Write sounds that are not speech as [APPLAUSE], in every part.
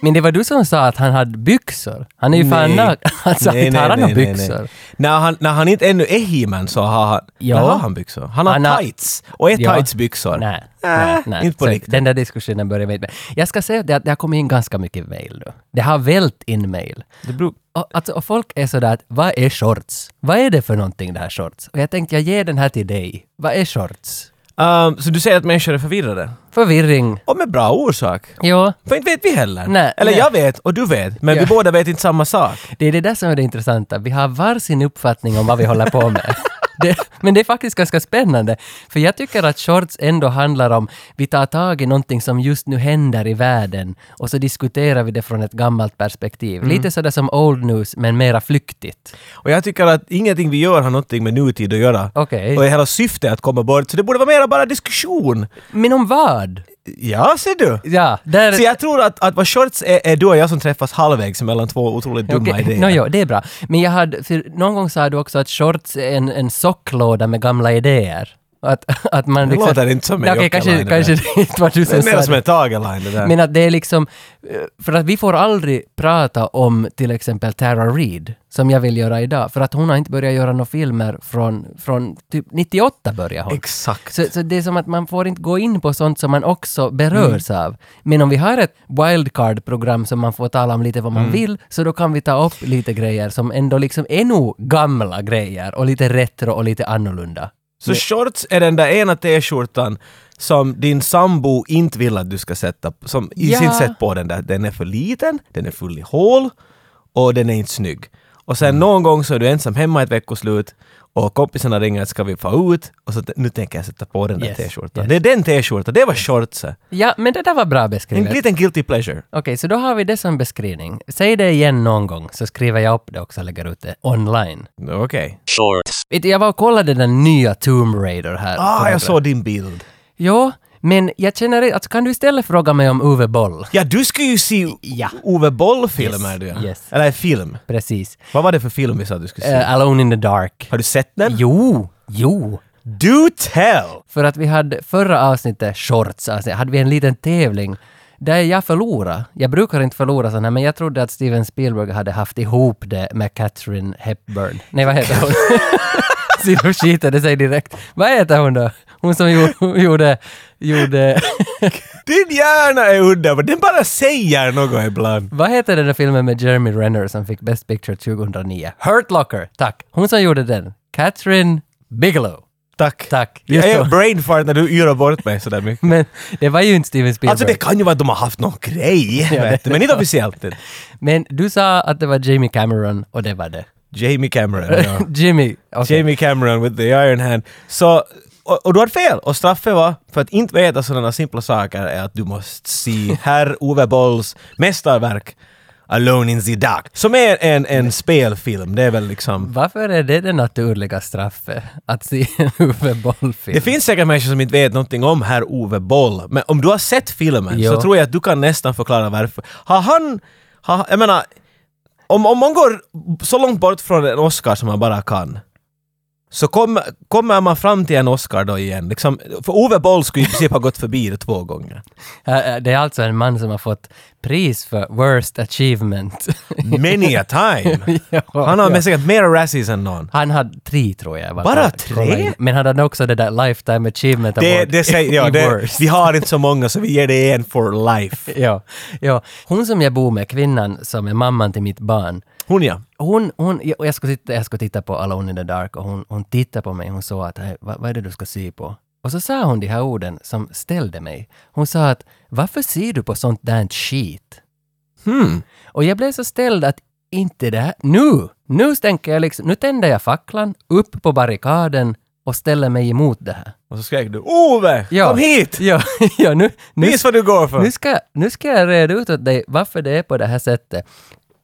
Men det var du som sa att han hade byxor. Han är ju fan Nej. naken. Alltså, Nej, inte har [LAUGHS] nej, han några nej, nej, byxor. nej. När han, när han inte ännu är He-Man så har han... Ja. När har han byxor? Han har Han har- tights. Och är Ja. tightsbyxor. Nej, Äh, nej, nej. inte på Så riktigt. Den där diskussionen börjar med. Jag ska säga det att det har kommit in ganska mycket mail nu. Det har vält in mail. Det beror... Och, alltså, och folk är sådär att vad är shorts? Vad är det för någonting det här shorts? Och jag tänkte jag ger den här till dig. Vad är shorts? Ehm, så du säger att människor är förvirrade? Förvirring. Och med bra orsak. Ja, För inte vet vi heller. Nej, Eller nej. jag vet och du vet. Men Ja. vi båda vet inte samma sak. det är det där som är det intressanta. Vi har varsin uppfattning om vad vi håller på [LAUGHS] med. Det, men det är faktiskt ganska spännande. För jag tycker att shorts ändå handlar om, vi tar tag i någonting som just nu händer i världen och så diskuterar vi det från ett gammalt Mm. perspektiv. Lite sådär som old news, men mera flyktigt. Och jag tycker att ingenting vi gör har någonting med nutid att göra. Okej. Och hela syftet är att komma bort. Så det borde vara mera bara diskussion. Men om vad? Ja, ser du. Ja, där... Så jag tror att, att vad shorts är, är du och jag som träffas halvvägs mellan två otroligt dumma Okej, idéer. nå ja, det är bra. Men jag hade, för någon gång sa du också att shorts är en, en socklåda med gamla idéer. Att, att man liksom- Det låter inte som en Okej, kanske, Jokelainen, men- kanske det inte var du det som är mer sa som det. en tageline det där. Men att det är liksom, eh, för att vi får aldrig prata om till exempel Tara Reid, som jag vill göra idag, för att hon har inte börjat göra några filmer från, från typ 98 började hon. Exakt. Så, så det är som att man får inte gå in på sånt som man också berörs av. Men om vi har ett wildcard-program som man får tala om lite vad man vill, så då kan vi ta upp lite grejer som ändå liksom är nog gamla grejer och lite retro och lite annorlunda. Så shorts är den där ena t-skjortan som din sambo inte vill att du ska sätta, som i Ja. sin sätt på den där. Den är för liten, den är full i hål och den är inte snygg. Och Mm. sen någon gång så är du ensam hemma ett veckoslut och kompisarna ringer att ska vi få ut? Och så t- nu tänker jag sätta på den där Yes, t-skjortan. yes. Det är den t-skjortan, det var shortsen. Ja, men det där var bra En beskrivet. Okej, liten guilty pleasure. så då har vi det som beskrivning. Säg det igen någon gång, så skriver jag upp det också och lägger ut det online. Okej. shorts, Vet du, Jag var och kollade den nya Tomb Raider här. Ah, förra- jag såg din bild. Ja, men jag känner att kan du istället fråga mig om Uwe Boll? Ja, du ska ju se Ja. Ove Boll-filmer du. ja. yes. Eller film. Precis. Vad var det för film vi sa att du skulle se? Eh, Alone in the dark. Har du sett den? Jo, jo. Do tell! För att vi hade förra avsnittet, shorts avsnitt, hade vi en liten tävling där jag förlorade. Jag brukar inte förlora sådana här, men jag trodde att Steven Spielberg hade haft ihop det med Catherine Hepburn. Nej, vad heter hon? [LAUGHS] Så då skitade sig direkt. Vad heter hon då? Hon som gjorde... gjorde, gjorde Din hjärna är underbar, den bara säger något ibland. vad heter den där filmen med Jeremy Renner som fick Best Picture 2009? Hurt Locker, tack. Hon som gjorde den. Catherine Bigelow. Tack. Tack. Jag Just är så. Mm. brainfart när du yrar bort mig sådär mycket. Men det var ju inte Steven Spielberg. Alltså det kan ju vara att de har haft någon grej, Ja, vet du, men inte officiellt. Men du sa att det var Jamie Cameron och det var det. Jamie Cameron. Ja. Jimmy. [LAUGHS] okej. Jamie Cameron with the iron hand. Så, och, och du hade fel! Och straffet var, för att inte veta sådana simpla saker, är att du måste se herr Ove Bolls mästerverk Alone in the Dark, som är en, en spelfilm. Det är väl liksom... Varför är det det naturliga straffet? Att se [LAUGHS] en Uwe Boll-film? Det finns säkert människor som inte vet någonting om herr Ove Boll, men om du har sett filmen Ja. så tror jag att du kan nästan förklara varför. Har han... Har, jag menar, om, om man går så långt bort från en Oscar som man bara kan, så kommer kommer man fram till en Oscar då igen. Liksom, för Ove Boll skulle i princip ha gått förbi det [LAUGHS] två gånger. Äh, äh, Det är alltså en man som har fått pris för worst achievement. [LAUGHS] Many a time! Ja, Han har ja. med säkert mer Razzies än någon. Han hade tre tror jag. var- Bara var- tre? kolla in. Men han hade också det där lifetime achievement Det, award det säger [LAUGHS] jag, i det, worst. vi har inte så många så vi ger det en for [LAUGHS] life. Ja, ja. Hon som jag bor med, kvinnan som är mamman till mitt barn, Hon ja. hon, hon, jag- och jag skulle titta, jag skulle titta på Alone in the Dark och hon, hon tittade på mig hon sa att "Hej, vad, vad är det du ska se på? Och så sa hon de här orden som ställde mig. Hon sa att varför ser du på sånt där skit? Hmm. Och jag blev så ställd att inte det här, nu! Nu tänker jag liksom, nu tänder jag facklan upp på barrikaden och ställer mig emot det här. [LAUGHS] Och så skrek du Ove! Ja. Kom hit! Ja, [LAUGHS] ja nu, nu, Vis vad du går för! nu, ska, nu ska jag reda ut åt dig varför det är på det här sättet.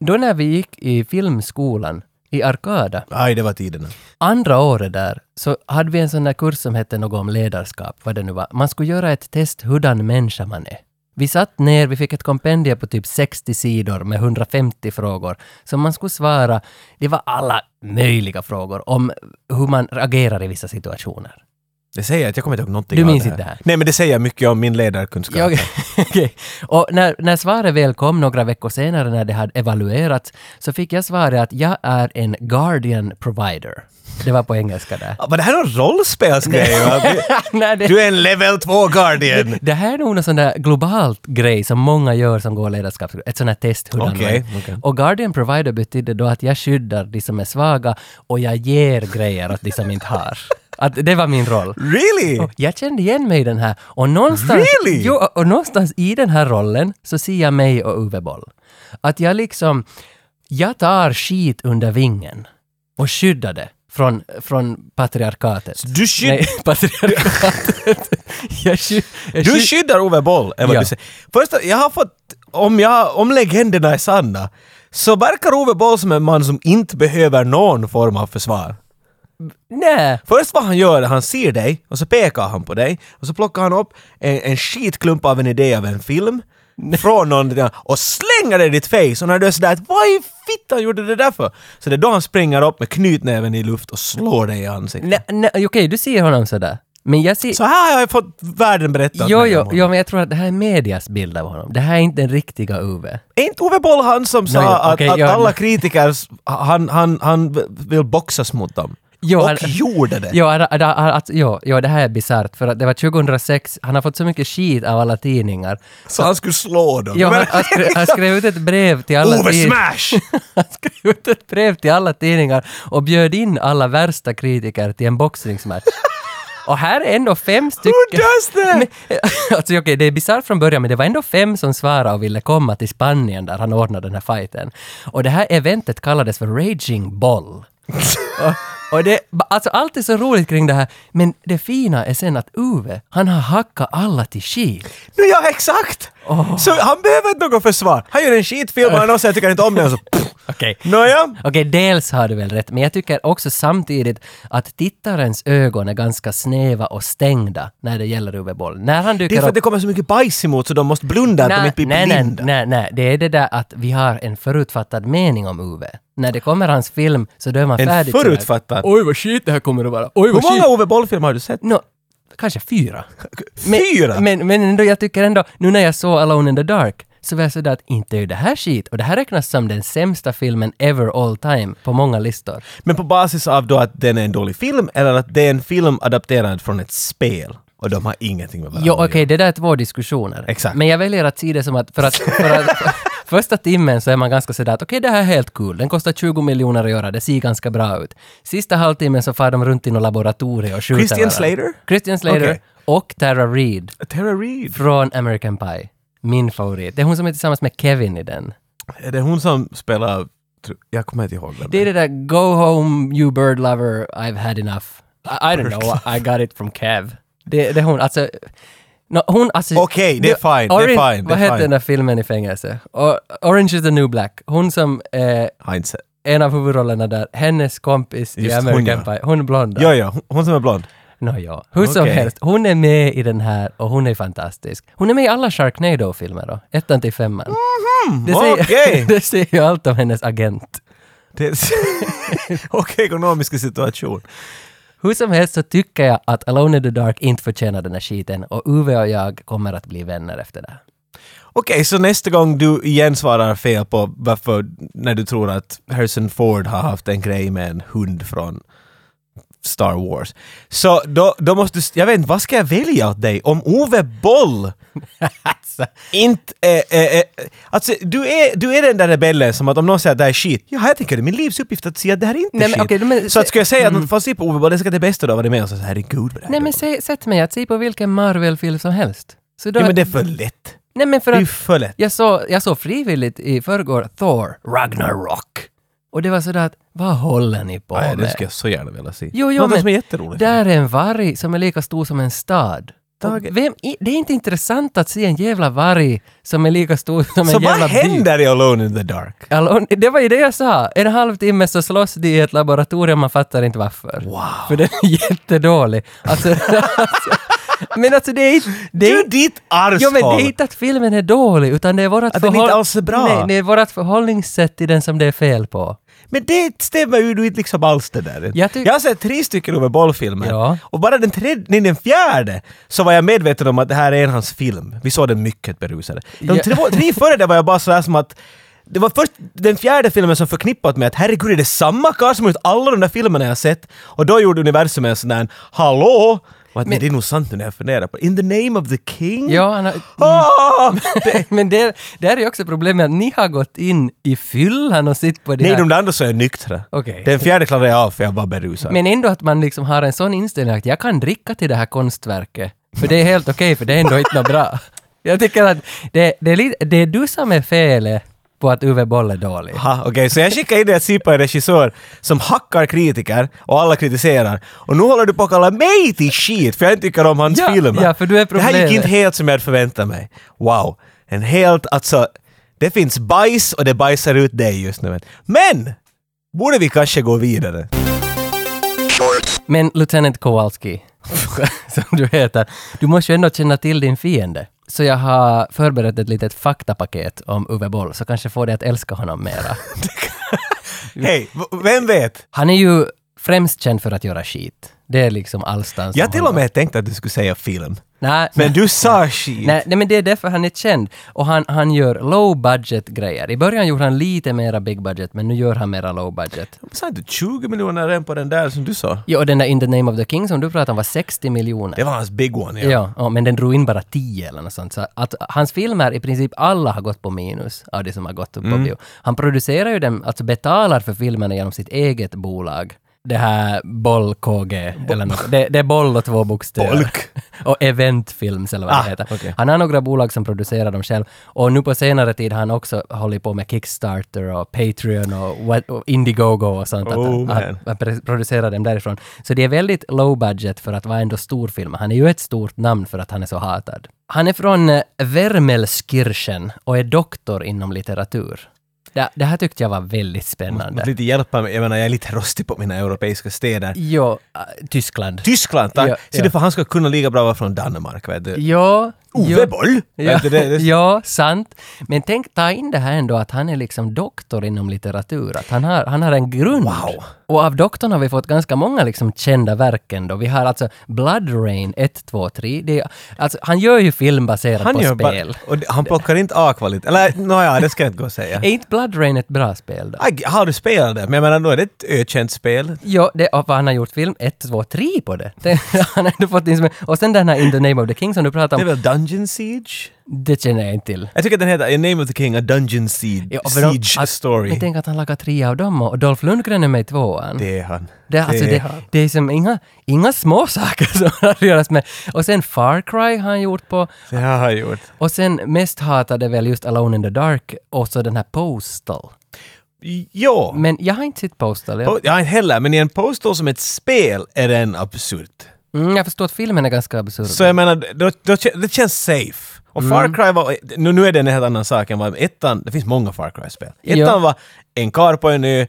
Då när vi gick i filmskolan i Arkada Aj, det var tiderna. andra året där så hade vi en sån där kurs som hette något om ledarskap, vad det nu var. Man skulle göra ett test hurdan människa man är. Vi satt ner, vi fick ett kompendium på typ 60 sidor med 150 frågor som man skulle svara. Det var alla möjliga frågor om hur man agerar i vissa situationer. Det säger att jag kommer inte ihåg någonting Du av minns det här. inte det här? Nej, men det säger mycket om min ledarkunskap. Ja, okej. [LAUGHS] Okej. Och när, när svaret väl kom några veckor senare när det hade evaluerats så fick jag svaret att jag är en guardian provider. Det var på engelska där. Ah, Var det här någon rollspelsgrej? va? [LAUGHS] Nej, det, Du är en level [LAUGHS] 2 guardian! det här är nog en sån där globalt grej som många gör som går ledarskap, ett sån här test. hurdan man Okej, är. okej. Och Guardian Provider betyder då att jag skyddar de som är svaga och jag ger grejer åt de som inte har. Att det var min roll. Really? Och jag kände igen mig i den här och någonstans, Really? jo, och någonstans i den här rollen så ser jag mig och Uwe Boll. Att jag liksom, jag tar skit under vingen och skyddar det från, från patriarkatet. Du, skydd, Nej, [LAUGHS] patriarkatet. jag sky, jag du sky- skyddar Ove Boll, är vad Ja. du säger. Först, jag har fått... Om, jag, om legenderna är sanna, så verkar Ove Boll som en man som inte behöver någon form av försvar. Nej, Först vad han gör är att han ser dig och så pekar han på dig och så plockar han upp en, en skitklump av en idé av en film från någon och slänger det i ditt face och när du är sådär att vad i fittan gjorde du det där för? Så det är då han springer upp med knytnäven i luft och slår dig i ansiktet. nej, nej okej, du ser honom sådär. Men jag ser... Så här har jag fått världen berättad Jo, mig om jo, honom. jo, men jag tror att det här är medias bild av honom. Det här är inte den riktiga Uwe. Är inte Ove Boll han som sa Nå, ja, att, okej, att ja. alla kritiker, han, han, han vill boxas mot dem? Jo, och han- gjorde det! Jo, att, att, att, jo, jo, det här är bisarrt, för att det var 2006, han har fått så mycket skit av alla tidningar. Så han skulle slå dem. Jo, Men- han, han, skrev, han skrev ut ett brev [LAUGHS] till alla Ove tidningar. Smash! Han [LAUGHS] skrev ut ett brev till alla tidningar och bjöd in alla värsta kritiker till en [LAUGHS] boxningsmatch. Och här är ändå fem stycken... Who does that? Men- [LAUGHS] alltså okej, det är bisarrt från början, men det var ändå fem som svarade och ville komma till Spanien där han ordnade den här fighten. Och det här eventet kallades för Raging [LAUGHS] Boll. och, och det, alltså allt är så roligt kring det här, men det fina är sen att Uwe, han har hackat alla till skit. Nu ja, exakt! Så han behöver inte något försvar. Han gör en skitfilm och han säger jag tycker inte om den och så... pff. Okej. Nåja. Okej, dels har du väl rätt, men jag tycker också samtidigt att tittarens ögon är ganska snäva och stängda när det gäller Uwe Boll. När han Det är dyker för upp... att det kommer så mycket bajs emot så de måste blunda att de inte blir nej, blinda. nej, nej, nej, det är det där att vi har en förutfattad mening om Uwe. När det kommer hans film så då är man En färdig. förutfattad? Oj, vad shit det här kommer att vara. Oj, Hur många Ove Boll-filmer har du sett? Nå, kanske fyra. [LAUGHS] Fyra? Men, men ändå, jag tycker ändå, nu när jag såg Alone in the Dark, så var jag sådär att inte är ju det här skit. Och det här räknas som den sämsta filmen ever all time på många listor. Men på basis av då att den är en dålig film eller att det är en film adapterad från ett spel och de har ingenting med varandra Jo, att okej, göra. det där är två diskussioner. Exakt. Men jag väljer att se det som att, för att, för att [LAUGHS] [LAUGHS] första timmen så är man ganska sådär att okej, det här är helt kul, den kostar 20 miljoner att göra, det ser ganska bra ut. Sista halvtimmen så far de runt i något laboratorium och skjuter Christian varandra. Slater? Christian Slater Okej. och Tara Reid Tara Reid. från American Pie. Min favorit. Det är hon som är tillsammans med Kevin i den. Är det hon som spelar... tr- Jag kommer inte ihåg vem Det är det där “Go home you bird lover, I've had enough”. I, I don't know, I got it from Kev. Det, det är hon, alltså... No, hon, alltså Okej, det är fine, det är Orange- fine, det Vad är heter fine. den där filmen i fängelse? O- Orange is the new black. Hon som är Har inte sett. en av huvudrollerna där, hennes kompis i Just hon, American ja. Pie, hon blonda. Jo, jo, hon som är blond. Nå, ja. Hur som Okej. helst, hon är med i den här och hon är fantastisk. Hon är med i alla Sharknado-filmer då, ettan till femman. Det säger- Mm, [LAUGHS] okej. [LAUGHS] det säger ju allt om hennes agent. Det [LAUGHS] är- Okej, ekonomiska situation. Hur som helst så tycker jag att Alone in the Dark inte förtjänar den här skiten och Uwe och jag kommer att bli vänner efter det. Okej, så nästa gång du igen svarar fel på varför, när du tror att Harrison Ford har haft en grej med en hund från Star Wars. Så då, då måste du, jag vet inte, vad ska jag välja åt dig? Om Ove [LAUGHS] Boll Alltså. inte är... Äh, alltså, du är, du är den där rebellen som att om någon säger att det här är skit, ja, jag tänker det är min livsuppgift att säga att det här är inte Nej, men skit. okej, men- Mm. så att ska jag säga att man se på Ove Boll, det ska det bästa då vara det med och så herregud vad det här Nej är men dåligt." se, sätt mig att se på vilken Marvel-film som helst. Så då, ja, men det är för lätt. nej men för Det är att ju för lätt. jag såg jag så frivilligt i förrgår Thor, Ragnarok. Och det var sådär att, vad håller ni på Nej, det med? skulle jag så gärna vilja se. Jo, jo, Något men- som är jätteroligt. Där är en varg som är lika stor som en stad. Och Vem, i- det är inte intressant att se en jävla varg som är lika stor som Så en jävla vad by. händer i Alone in the Dark? Alone, det var ju det jag sa! En halvtimme så slåss de i ett laboratorium, man fattar inte varför. Wow. För den är [LAUGHS] jättedålig. Alltså, [LAUGHS] alltså, men alltså det är inte... Det Du är, ditt arshål! jo men det är inte att filmen är dålig, utan det är vårat Att den inte alls är bra. Nej, det är vårat förhållningssätt till den som det är fel på. Men det stämmer ju inte liksom alls det där. Jag tyck- jag har sett tre stycken Ove Boll-filmer. Ja. Och bara den tredje, nej den fjärde, så var jag medveten om att det här är en hans film. Vi såg den mycket berusade. De Ja. tre, [LAUGHS] tre före det var jag bara sådär som att det var först den fjärde filmen som förknippat med att herregud är det samma karl som har gjort alla de där filmerna jag har sett? Och då gjorde universum en sån där ”Hallå?” och att, men, Men- Det är nog sant nu när jag funderar på det. ”In the name of the king?” Ja, han har, [LAUGHS] Ah! men det, det här är ju också problemet att ni har gått in i fyllan och sitt på det Nej, här. de där andra så är jag nyktra. Okej. Den fjärde klarade jag av för jag var berusad. Men ändå att man liksom har en sån inställning att jag kan dricka till det här konstverket, för det är helt okej, för det är ändå inte något bra. [LAUGHS] Jag tycker att det, det, är lite, det är du som är felet på att Uwe Boll är dålig. Ha, okej, så jag skickar in dig att se på en regissör som hackar kritiker och alla kritiserar. Och nu håller du på att kalla mig till shit för jag tycker om hans Ja, filmer. ja, för du är det här gick problemet. inte helt som jag hade förväntat mig. Wow. En helt, alltså, det finns bajs och det bajsar ut dig just nu. Men! Borde vi kanske gå vidare? Men Lieutenant Kowalski, [LAUGHS] som du heter, du måste ju ändå känna till din fiende. Så jag har förberett ett litet faktapaket om Uwe Boll, så kanske får dig att älska honom mera. Hej, v- vem vet? Han är ju främst känd för att göra skit. Det är liksom allstans. om Jag till och honom. med tänkte att du skulle säga film. Nej, Men du sa shit. Nej, nej, men det är därför han är känd. Och han, han gör low budget grejer. I början gjorde han lite mera big budget, men nu gör han mera low budget. Sa inte 20 miljoner än på den där som du sa? Ja, och den där In the name of the king som du pratade om var 60 miljoner. Det var hans big one, ja. Ja, ja, men den drog in bara 10 eller något sånt. Så att hans filmer, i princip alla har gått på minus av det som har gått upp Mm. på bio. Han producerar ju dem, alltså betalar för filmerna genom sitt eget bolag. Det här Boll KG, eller något. Det, det är Boll och två bokstäver. Bolk. [LAUGHS] och Eventfilms eller vad Ah, det heter. okej. Han har några bolag som producerar dem själv. Och nu på senare tid har han också hållit på med Kickstarter och Patreon och, what, och Indiegogo och sånt. Oh, att han, man. han, han pre- producerar dem därifrån. Så det är väldigt low budget för att vara ändå storfilm. Han är ju ett stort namn för att han är så hatad. Han är från eh, Wermelskirchen och är doktor inom litteratur. Det, det här tyckte jag var väldigt Måste spännande. lite hjälpa mig, jag menar jag är lite rostig på mina europeiska städer. Jo, äh, Tyskland. Tyskland, tack! Ja, Så ja. det för han ska kunna lika bra vara från Danmark, vet du. Jo, jo. Ove Boll! Ja, Vet du, det, det, ja, sant. Men tänk, ta in det här ändå att han är liksom doktor inom litteratur, att han har, han har en grund. Wow. Och av doktorn har vi fått ganska många liksom kända verk ändå. Vi har alltså Blood Rain 1, 2, 3. Det är, alltså, han gör ju film baserad han på gör spel. bara... Och det- han plockar inte A-kvalitet. Eller nåja, det ska jag inte gå [LAUGHS] och säga. Är inte Blood Rain ett bra spel då? Aj, Har du spelat det? Men jag menar, då är det ett ökänt spel. Ja, det, och vad han har gjort film 1, 2, 3 på det. det [LAUGHS] han har ändå fått in som, och sen den här In the Name of the King som du Det pratade är om, väl Dungeon Siege? det känner jag inte till. Jag tycker att den heter A Name of the King, A Dungeon Siege, Ja, för de- Siege att- Men Story. tänk att han lagar tre av dem och Dolph Lundgren är med i tvåan. Det är han. Det, alltså Det- det, det är som inga, inga små [LAUGHS] saker som har göras med. Och sen Far Cry har han gjort på. Det har han gjort. Och sen mest hatade väl just Alone in the Dark och så den här Postal. Ja. Men jag har inte sett Postal. Jag, Po- Ja, inte heller, men i en postal som ett spel är den absurt. mm, jag förstår att filmen är ganska absurd. Så jag menar, då, då, kä- det känns safe. Och Mm. Far Cry var, nu, nu är det en helt annan sak än vad ettan, det finns många Far Cry-spel. Ettan Ja. Mm. var en karl på en ö,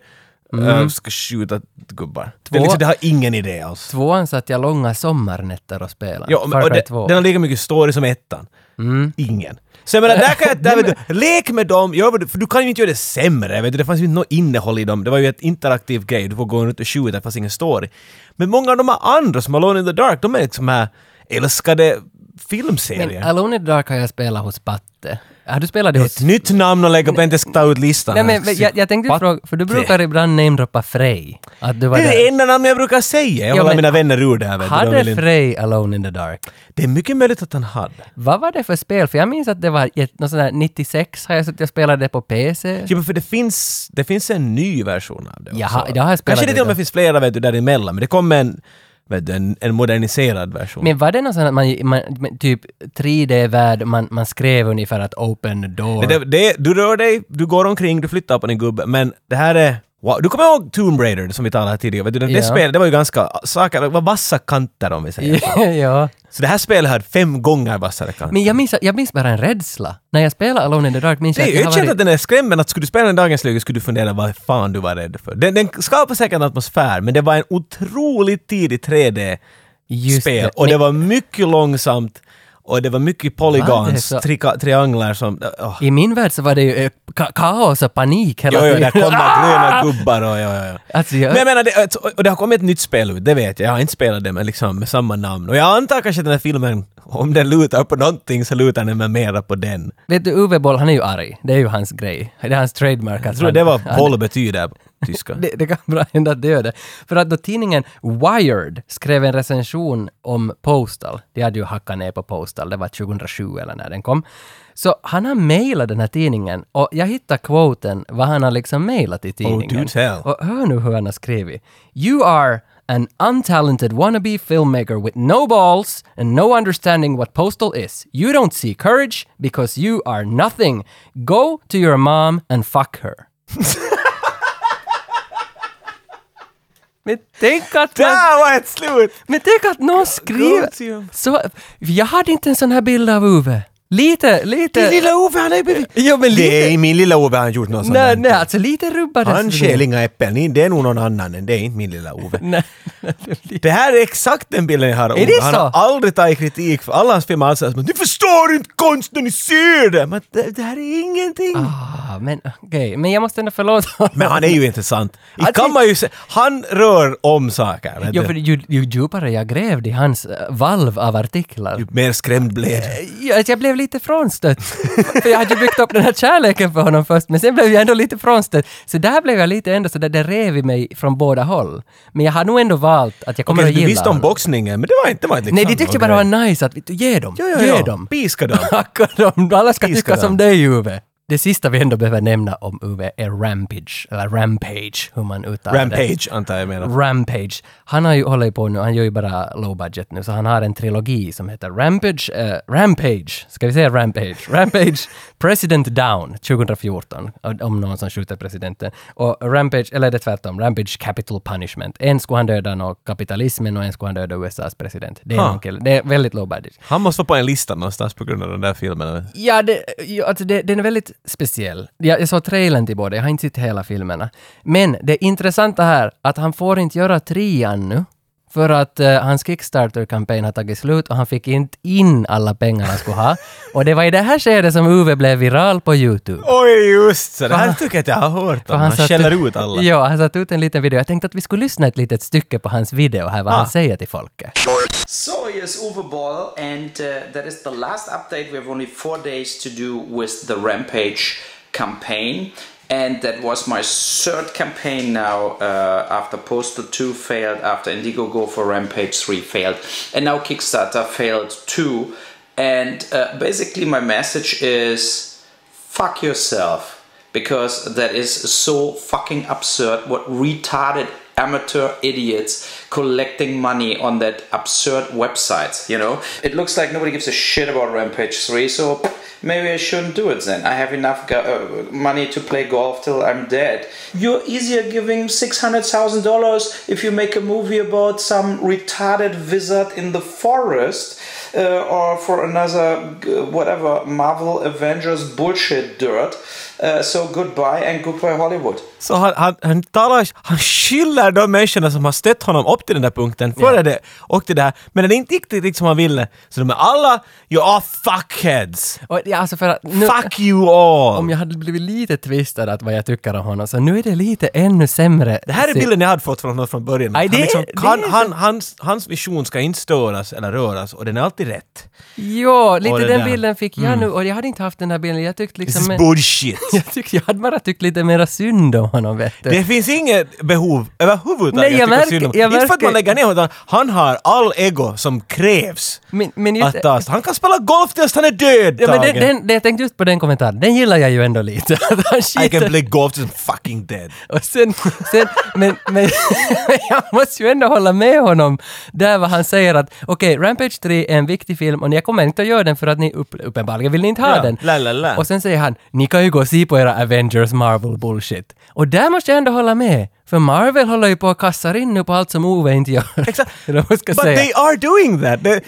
äh, ska skjuta gubbar. Det, är Två- liksom, det har ingen idé alls. Tvåan satt jag långa sommarnätter och spelade. Ja, men, Far och Cry Mm. det, 2. den har lika mycket story som ettan. Ingen. Så jag menar, där kan jag, [LAUGHS] där vet du, lek med dem, gör vad du, för du kan ju inte göra det sämre, vet du, det fanns ju inte något innehåll i dem, det var ju ett interaktiv grej, du får gå runt och skjuta, det fanns ingen story. Men många av de här andra som Alone in the Dark, de är liksom här älskade filmserier. men eh, Alone in the Dark har jag spelat hos Patte. Har du spelat det hos... Ett nytt namn att lägga på, inte ska ta ut listan. Nej men jag, jag tänkte Patte. fråga, för du brukar ibland namedroppa Frey. Att du var Det är det där. enda namn jag brukar säga. Jag Ja, håller men- mina vänner ur det här. Vet du, de vill Hade inte- Frey Alone in the Dark? det är mycket möjligt att han hade. [LAUGHS] Vad var det för spel? För jag minns att det var ett- något sånt där 96 har jag suttit och spelat det på PC. Ja, men Typ, för det finns, det finns en ny version av det. Jaha, också. jag har spelat Kanske det det till och då. med finns flera vet du, däremellan, men det kom en, vet du, en, en moderniserad version. Men var det något sånt att man, man men typ 3D-värld, man, man skrev ungefär att open door? det, det, du rör dig, du går omkring, du flyttar på din gubbe, men det här är... Wow. Du kommer ihåg Tomb Raider som vi talade här tidigare? Vet du, det Ja. spelet, det var ju ganska... Saker, det var vassa kanter om vi säger. [LAUGHS] ja. Så det här spelet hade fem gånger vassare kanter. Men jag minns, jag minns bara en rädsla. När jag spelade Alone in the Dark minns jag Det att är jag jag har känner att varit... den är skrämmande, att skulle du spela den i dagens läge skulle du fundera vad fan du var rädd för. Den, den skapar säkert en atmosfär, men det var en otroligt tidig 3D-spel Just det. och det Men- var mycket långsamt och det var mycket Va, det är polygons, så- trika, trianglar som... åh. I min värld så var det ju eh, ka- kaos och panik hela Jo, jo, där tiden. kommer gröna gubbar och ja, ja, ja. [LAUGHS] Alltså, jag, Men jag menar, det, och det har kommit ett nytt spel ut, det vet jag. Jag har inte spelat det, men liksom med samma namn. Och jag antar kanske den här filmen, om den lutar på någonting så lutar den väl mera på den. Vet du, Uwe Boll, han är ju arg. Det är ju hans grej. Det är hans trademark. Jag tror det var boll betyder på tyska. Det, det kan bra hända att det gör det. För att då tidningen Wired skrev en recension om Postal, de hade ju hackat ner på Postal, det var 2007 eller när den kom. Så han har mejlat den här tidningen och jag hittar quoten vad han har liksom mejlat i tidningen. do tell. och hör nu hur han har skrivit. You are an untalented wannabe filmmaker with no balls and no understanding what postal is. You don't see courage because you are nothing. Go to your mom and fuck her. Men tänk att man, Där var ett slut! men tänk att någon skriver... to- Så, jag hade inte en sån här bild av Uwe. Lite, lite... lilla Ove, han är blivit... Jo, men Det är min lilla Ove, han gjort något sånt Nej, där. nej, alltså lite rubbades Han det. stjäl inga äpplen, Ni- det är nog någon annan än det, är inte [LAUGHS] min lilla Ove. Nej, nej, det blir- Det här är exakt den bilden jag har av Är det Ove. Han har så? aldrig tagit kritik för alla hans filmer. Han säger ni förstår inte konsten, ni ser det! Men det, det här är ingenting! Ah, men okej, men jag måste ändå förlåta honom. Men han är ju intressant. I Alltså- kan man ju se, han rör om saker. vet Jo, du. för ju, ju djupare jag grävde i hans eh, valv av artiklar, Ju mer skrämd Eh, blev du. jag, jag blev lite frånstött. [LAUGHS] för jag hade ju byggt upp den här kärleken för honom först, men sen blev jag ändå lite frånstött. Så där blev jag lite ändå så där, det rev i mig från båda håll. Men jag har nog ändå valt att jag kommer Okej, att Du gilla visste om honom. boxningen, men det var inte... Det var inte Nej, de liksom tyckte någon bara det grej. var nice att, vet du, ge dem, Ja, ja, ge ja. dem. [LAUGHS] Piska dem. Hacka dem, alla ska Piska tycka dem. som dig Uwe. Det sista vi ändå behöver nämna om Uwe är Rampage, eller Rampage, hur man uttalar det. Rampage, antar jag menar. Rampage. Han har ju hållit på nu, han gör ju bara low budget nu, så han har en trilogi som heter Rampage, eh, Rampage, ska vi säga Rampage? [LAUGHS] Rampage President Down 2014, om- om någon som skjuter presidenten. Och Rampage, eller är det tvärtom, Rampage Capital Punishment. En skulle han döda något kapitalismen och en skulle han döda USAs president. Det är, Ha. någon kille. det är väldigt low budget. Han måste vara på en lista någonstans på grund av den där filmen. Ja, det, ja, alltså det, den är väldigt speciell. Jag, jag såg trailern till båda, jag har inte sett hela filmerna. Men det intressanta här, att han får inte göra trean nu. För att eh, hans Kickstarter-kampanj har tagit slut och han fick inte in alla pengar han skulle ha. Och det var i det här skedet som Uwe blev viral på YouTube. Oj, just så! Det här tycker jag att jag har hört För om. Han satt- skäller ut alla. Ja, han satte ut en liten video. Jag tänkte att vi skulle lyssna ett litet stycke på hans video här, vad Ah. han säger till folket. So here's Uwe Ball, and uh, that is the last update. We have only four days to do with the Rampage campaign, and that was my third campaign now uh, after Postal 2 failed, after Indiegogo for Rampage 3 failed, and now Kickstarter failed too. And uh, basically, my message is fuck yourself because that is so fucking absurd what retarded amateur idiots collecting money on that absurd website you know it looks like nobody gives a shit about rampage 3 so maybe i shouldn't do it then i have enough go- uh, money to play golf till i'm dead you're easier giving $600000 if you make a movie about some retarded wizard in the forest uh, or for another g- whatever Marvel Avengers bullshit dirt. Uh, so goodbye and goodbye Hollywood. Så han, han, han talar, han skyller de människorna som har stött honom upp till den där punkten före det och till det här, men det är inte riktigt riktigt som han ville. Så de är alla, you are fuckheads! Och, ja, alltså för att nu, Fuck you all! Om jag hade blivit lite twistad att vad jag tycker om honom, så nu är det lite ännu sämre. Det här är bilden jag hade fått från honom från början. Aj, han det är- liksom, det han, är så- han, hans, hans vision ska inte störas eller röras och den är alltid rätt. Jo, lite Och det den där. bilden fick jag Mm. nu och jag hade inte haft den här bilden. Jag tyckte This is liksom... bullshit! jag, [LAUGHS] tyckte, jag hade bara tyckt lite mera synd om honom, vet du. Det finns inget behov överhuvudtaget Nej, jag att tycka märker- synd om- jag Inte för att märker- man lägger ner honom, utan han har all ego som krävs. men, men just... Att, alltså, han kan spela golf tills han är död! ja, men den, Tage. den, den, jag tänkte just på den kommentaren. Den gillar jag ju ändå lite. [LAUGHS] Att han I can skiter... play golf till I'm fucking dead. Och sen... sen men, men jag måste ju ändå hålla med honom där vad han säger att okej, Rampage 3 är en viktig film och jag kommer inte att göra den för att ni upp, uppenbarligen vill ni inte ha Ja, den. la, la, la. Och sen säger han, ni kan ju gå och se på era Avengers Marvel bullshit. Och där måste jag ändå hålla med. För Marvel håller ju på att kassar in nu på allt som Ove inte gör. Exakt. [LAUGHS] Eller vad jag ska But säga. Mm. they are doing that! Det,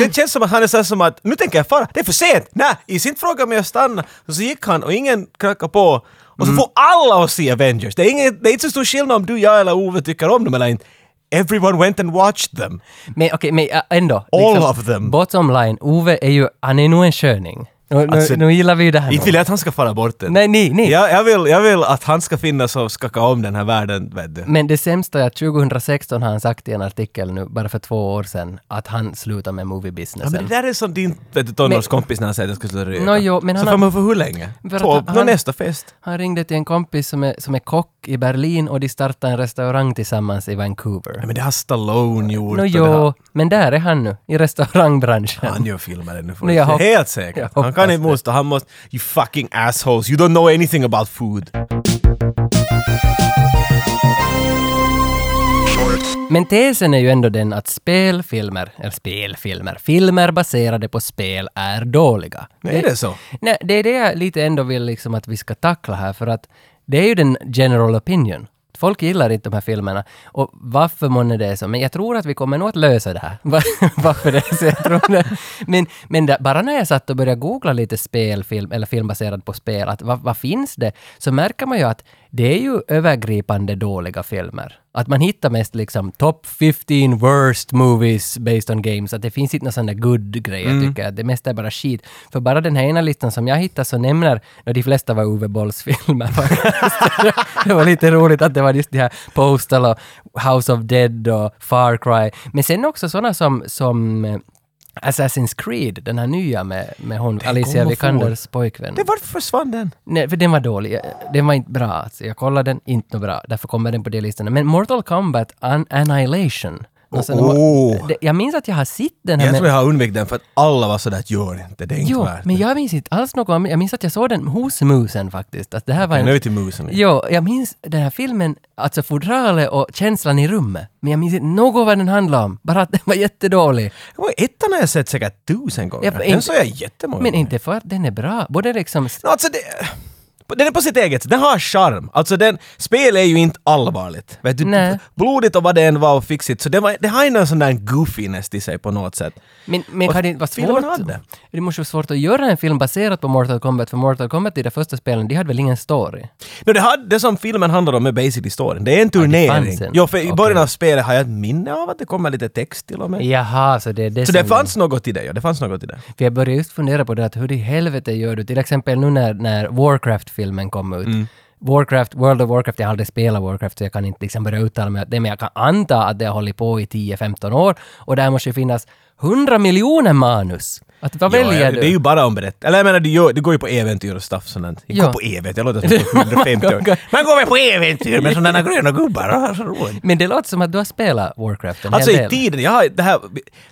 det känns som att han är så här som att nu tänker jag fara, det är för sent! Nej, i sin fråga med att stanna. Och så gick han och ingen knackade på. Mm. Och så får alla att se Avengers. Det är, ingen, det är inte så stor skillnad om du, jag eller Ove tycker om dem eller inte. Everyone went and watched them. Men okej, men ä, ändå. liksom, All of them. Bottom line, Ove är ju, han är nog en sköning. Nu, Alltså, nu, nu gillar vi ju det här. Inte vill jag att han ska fara bort det. Nej, nej, nej. Jag, jag, vill, jag vill att han ska finnas och skaka om den här världen, vet du. Men det sämsta är att 2016 har han sagt i en artikel nu, bara för två år sedan, att han slutar med Ja, men moviebusinessen. Alltså, det där är som din vet du, tonårskompis när han säger att jag ska sluta röka. Nå, jo, men så han får har- man för hur länge? För att Två, han- nå, han- nästa fest. Han ringde till en kompis som är, som är kock i Berlin och de startade en restaurang tillsammans i Vancouver. Nej, men det har Stallone gjort. Nå och det har- jo, men där är han nu, i restaurangbranschen. Han gör filmer ännu får Nej, du jag se. hopp- Helt jag säkert. Han hoppas kan inte det. motstå. Han måste... You fucking assholes. You don't know anything about food. Men tesen är ju ändå den att spelfilmer, eller spelfilmer, filmer baserade på spel är dåliga. Nej, är det så? Nej, det är det jag lite ändå vill liksom att vi ska tackla här, för att det är ju den general opinion. Folk gillar inte de här filmerna. Och varför månne det är så? Men jag tror att vi kommer nog att lösa det här. [LAUGHS] Va- varför det är så? Jag tror det. Men, men där, bara när jag satt och började googla lite spelfilm, eller film baserad på spel, att vad, vad finns det? Så märker man ju att det är ju övergripande dåliga filmer. Att man hittar mest liksom top 15 worst movies based on games. Att det finns inte några sådana good-grejer tycker jag. Det mesta är bara skit. För bara den här ena listan som jag hittade så nämner, och de flesta var Uwe Bolls filmer [LAUGHS] faktiskt. det var lite roligt att det var just de här Postal och House of Dead och Far Cry. Men sen också sådana som, som eh, Assassin's Creed, den här nya med, med hon, Alicia kommer Vikanders pojkvän. Det, varför försvann den? Nej, för den var dålig. Jag- Den var inte bra. Alltså, jag kollade den, inte nå bra. Därför kommer den på de listorna. Men Mortal Kombat An- Annihilation. Någon sån- Oh. Det- Jag minns att jag har sett den här. Jag men- tror jag har undvikit den för att alla var sådär att gör inte, det är inte Jo, värt men det. jag minns inte alls något. om- Jag minns att jag såg den hos musen faktiskt. Att det här var Men Nu en... är vi till musen. igen. Jo, jag minns den här filmen, alltså fodralet och känslan i rummet. Men jag minns inte något vad den handlade om. Bara att den var jättedålig. Det var Ettan har jag sett säkert tusen gånger. Ja, men den inte- såg jag jättemånga Men gånger. inte för att den är bra. Både liksom... Nå, Alltså det... Den är på sitt eget sätt, den har charm. Alltså den, spel är ju inte allvarligt. Vet du, Nej. blodigt och vad det än var och fixigt. Så det, var, det har ju någon sån där goofiness i sig på något sätt. Men, men Och kan det inte vara filmen svårt? hade. Det måste vara svårt att göra en film baserad på Mortal Kombat, för Mortal Kombat i det första spelen, de hade väl ingen story? No, det, hade, det som filmen handlar om är basically storyn. Det är en turnering. fanns en. jo, för i Okej. början av spelet har jag ett minne av att det kommer lite text till och med. Jaha, så det är det Så som det fanns något i det, ja. Det fanns något i det. För jag började just fundera på det att hur i helvete gör du? Till exempel nu när, när Warcraft-filmen kom ut. Mm. Warcraft, World of Warcraft, jag har aldrig spelat Warcraft så jag kan inte liksom börja uttala mig om det, men jag kan anta att det har hållit på i 10-15 år och där måste ju finnas 100 miljoner manus. Att vad Ja, väljer ja, du? Det är ju bara om berätt. Eller jag menar, du, gör, du går ju på äventyr och stuff sånt. Jag går Ja. på äventyr, jag låter som [LAUGHS] jag är 150 Man går- år. Man går väl på äventyr med sådana gröna gubbar och har så roligt. Men det låter som att du har spelat Warcraft en Alltså hel i del. tiden, jag har det här...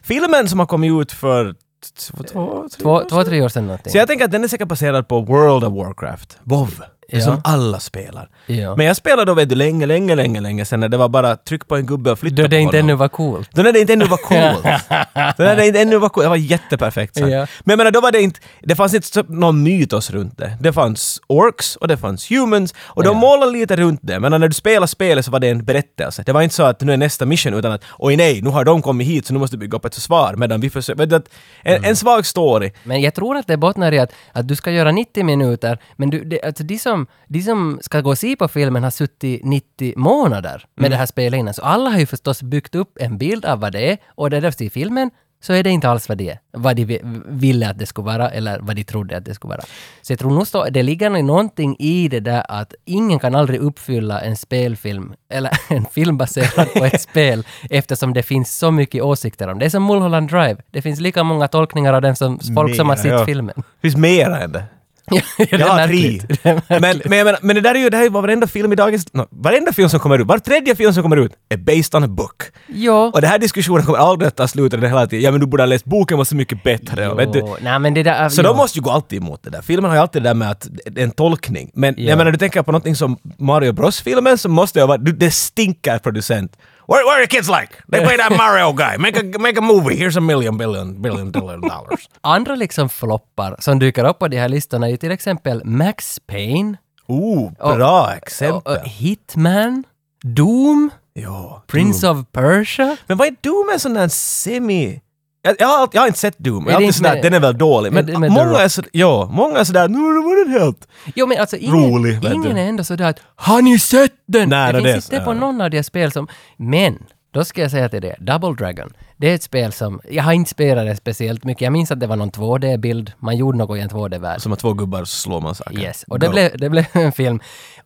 Filmen som har kommit ut för två, två, tre Två, år sedan. två, tre år sedan någonting. Så jag tänker att den är säkert baserad på World of Warcraft, WoW. Det Ja. som alla spelar. Ja. Men jag spelade då vet du länge, länge, länge, länge sen när det var bara tryck på en gubbe och flytta Då på det inte honom. ännu var coolt. Då när det inte ännu [LAUGHS] var coolt. Då när det inte ännu var coolt. Det var jätteperfekt sagt. Ja. Men jag menar, då var det inte... Det fanns inte så- någon mytos runt det. Det fanns orks och det fanns humans och de målade lite runt det. Men när du spelar spelet så var det en berättelse. Det var inte så att nu är nästa mission utan att oj nej, nu har de kommit hit så nu måste vi bygga upp ett försvar medan vi försöker... Vet du, att en, Mm. en svag story. Men jag tror att det bottnar i att, att du ska göra 90 minuter, men du, det, alltså de, som, de som ska gå och se på filmen har suttit 90 månader med det här spelet innan. Så alla har ju förstås byggt upp en bild av vad det är och det där i filmen så är det inte alls vad det är. Vad de vi- ville att det skulle vara eller vad de trodde att det skulle vara. Så jag tror nog stå, det ligger nog någonting i det där att ingen kan aldrig uppfylla en spelfilm eller [LAUGHS] en film baserad på ett spel eftersom det finns så mycket åsikter om det. Det är som Mulholland Drive. Det finns lika många tolkningar av den som folk som har Mera, sett ja. filmen. [LAUGHS] Det finns mera än det. Ja, det är Jag har tre. märkligt. [LAUGHS] Det är Men, märkligt. men, jag menar, men det där är ju, det här är ju vad varenda film i dagens... No, varenda film som kommer ut, var tredje film som kommer ut är based on a book. Jo. Och den här diskussionen kommer aldrig att ta slut och det är hela tiden. Ja men du borde ha läst boken, var så mycket bättre. och Vet du? Jo. Nej, men det där... Så jo. de måste ju gå alltid emot det där. Filmen har ju alltid det där med att det är en tolkning. Men Ja. jag menar, du tänker på någonting som Mario Bros-filmen så måste jag vara... du- Det stinker producent. What, what are the kids like? They play that Mario guy. Make a, make a movie. Here's a million billion billion dollar dollars. Andra liksom floppar som dyker upp på de här listorna är ju till exempel Max Payne, Ooh, bra och, och exempel. Hitman, Doom, Ja. Prince of Persia. Men vad är Doom en sån där semi... Jag, jag, har, allt- jag har inte sett Doom, jag Är har det alltid inte sådär med- den är väl dålig. Är Men det med The många Rock? är, så, ja, många är sådär nu var den helt... Jo men alltså ingen, Rolig, vet ingen du. är ändå sådär att ”Har ni sett den?” Nej, Det det är finns det. inte på Ja. någon av de här spel som... Men Då ska jag säga till dig, Double Dragon, det är ett spel som, jag har inte spelat det speciellt mycket, jag minns att det var någon 2D-bild, man gjorde något i en 2D-värld. Som att två gubbar så slår man saker. Yes, och det Go. blev, det blev en film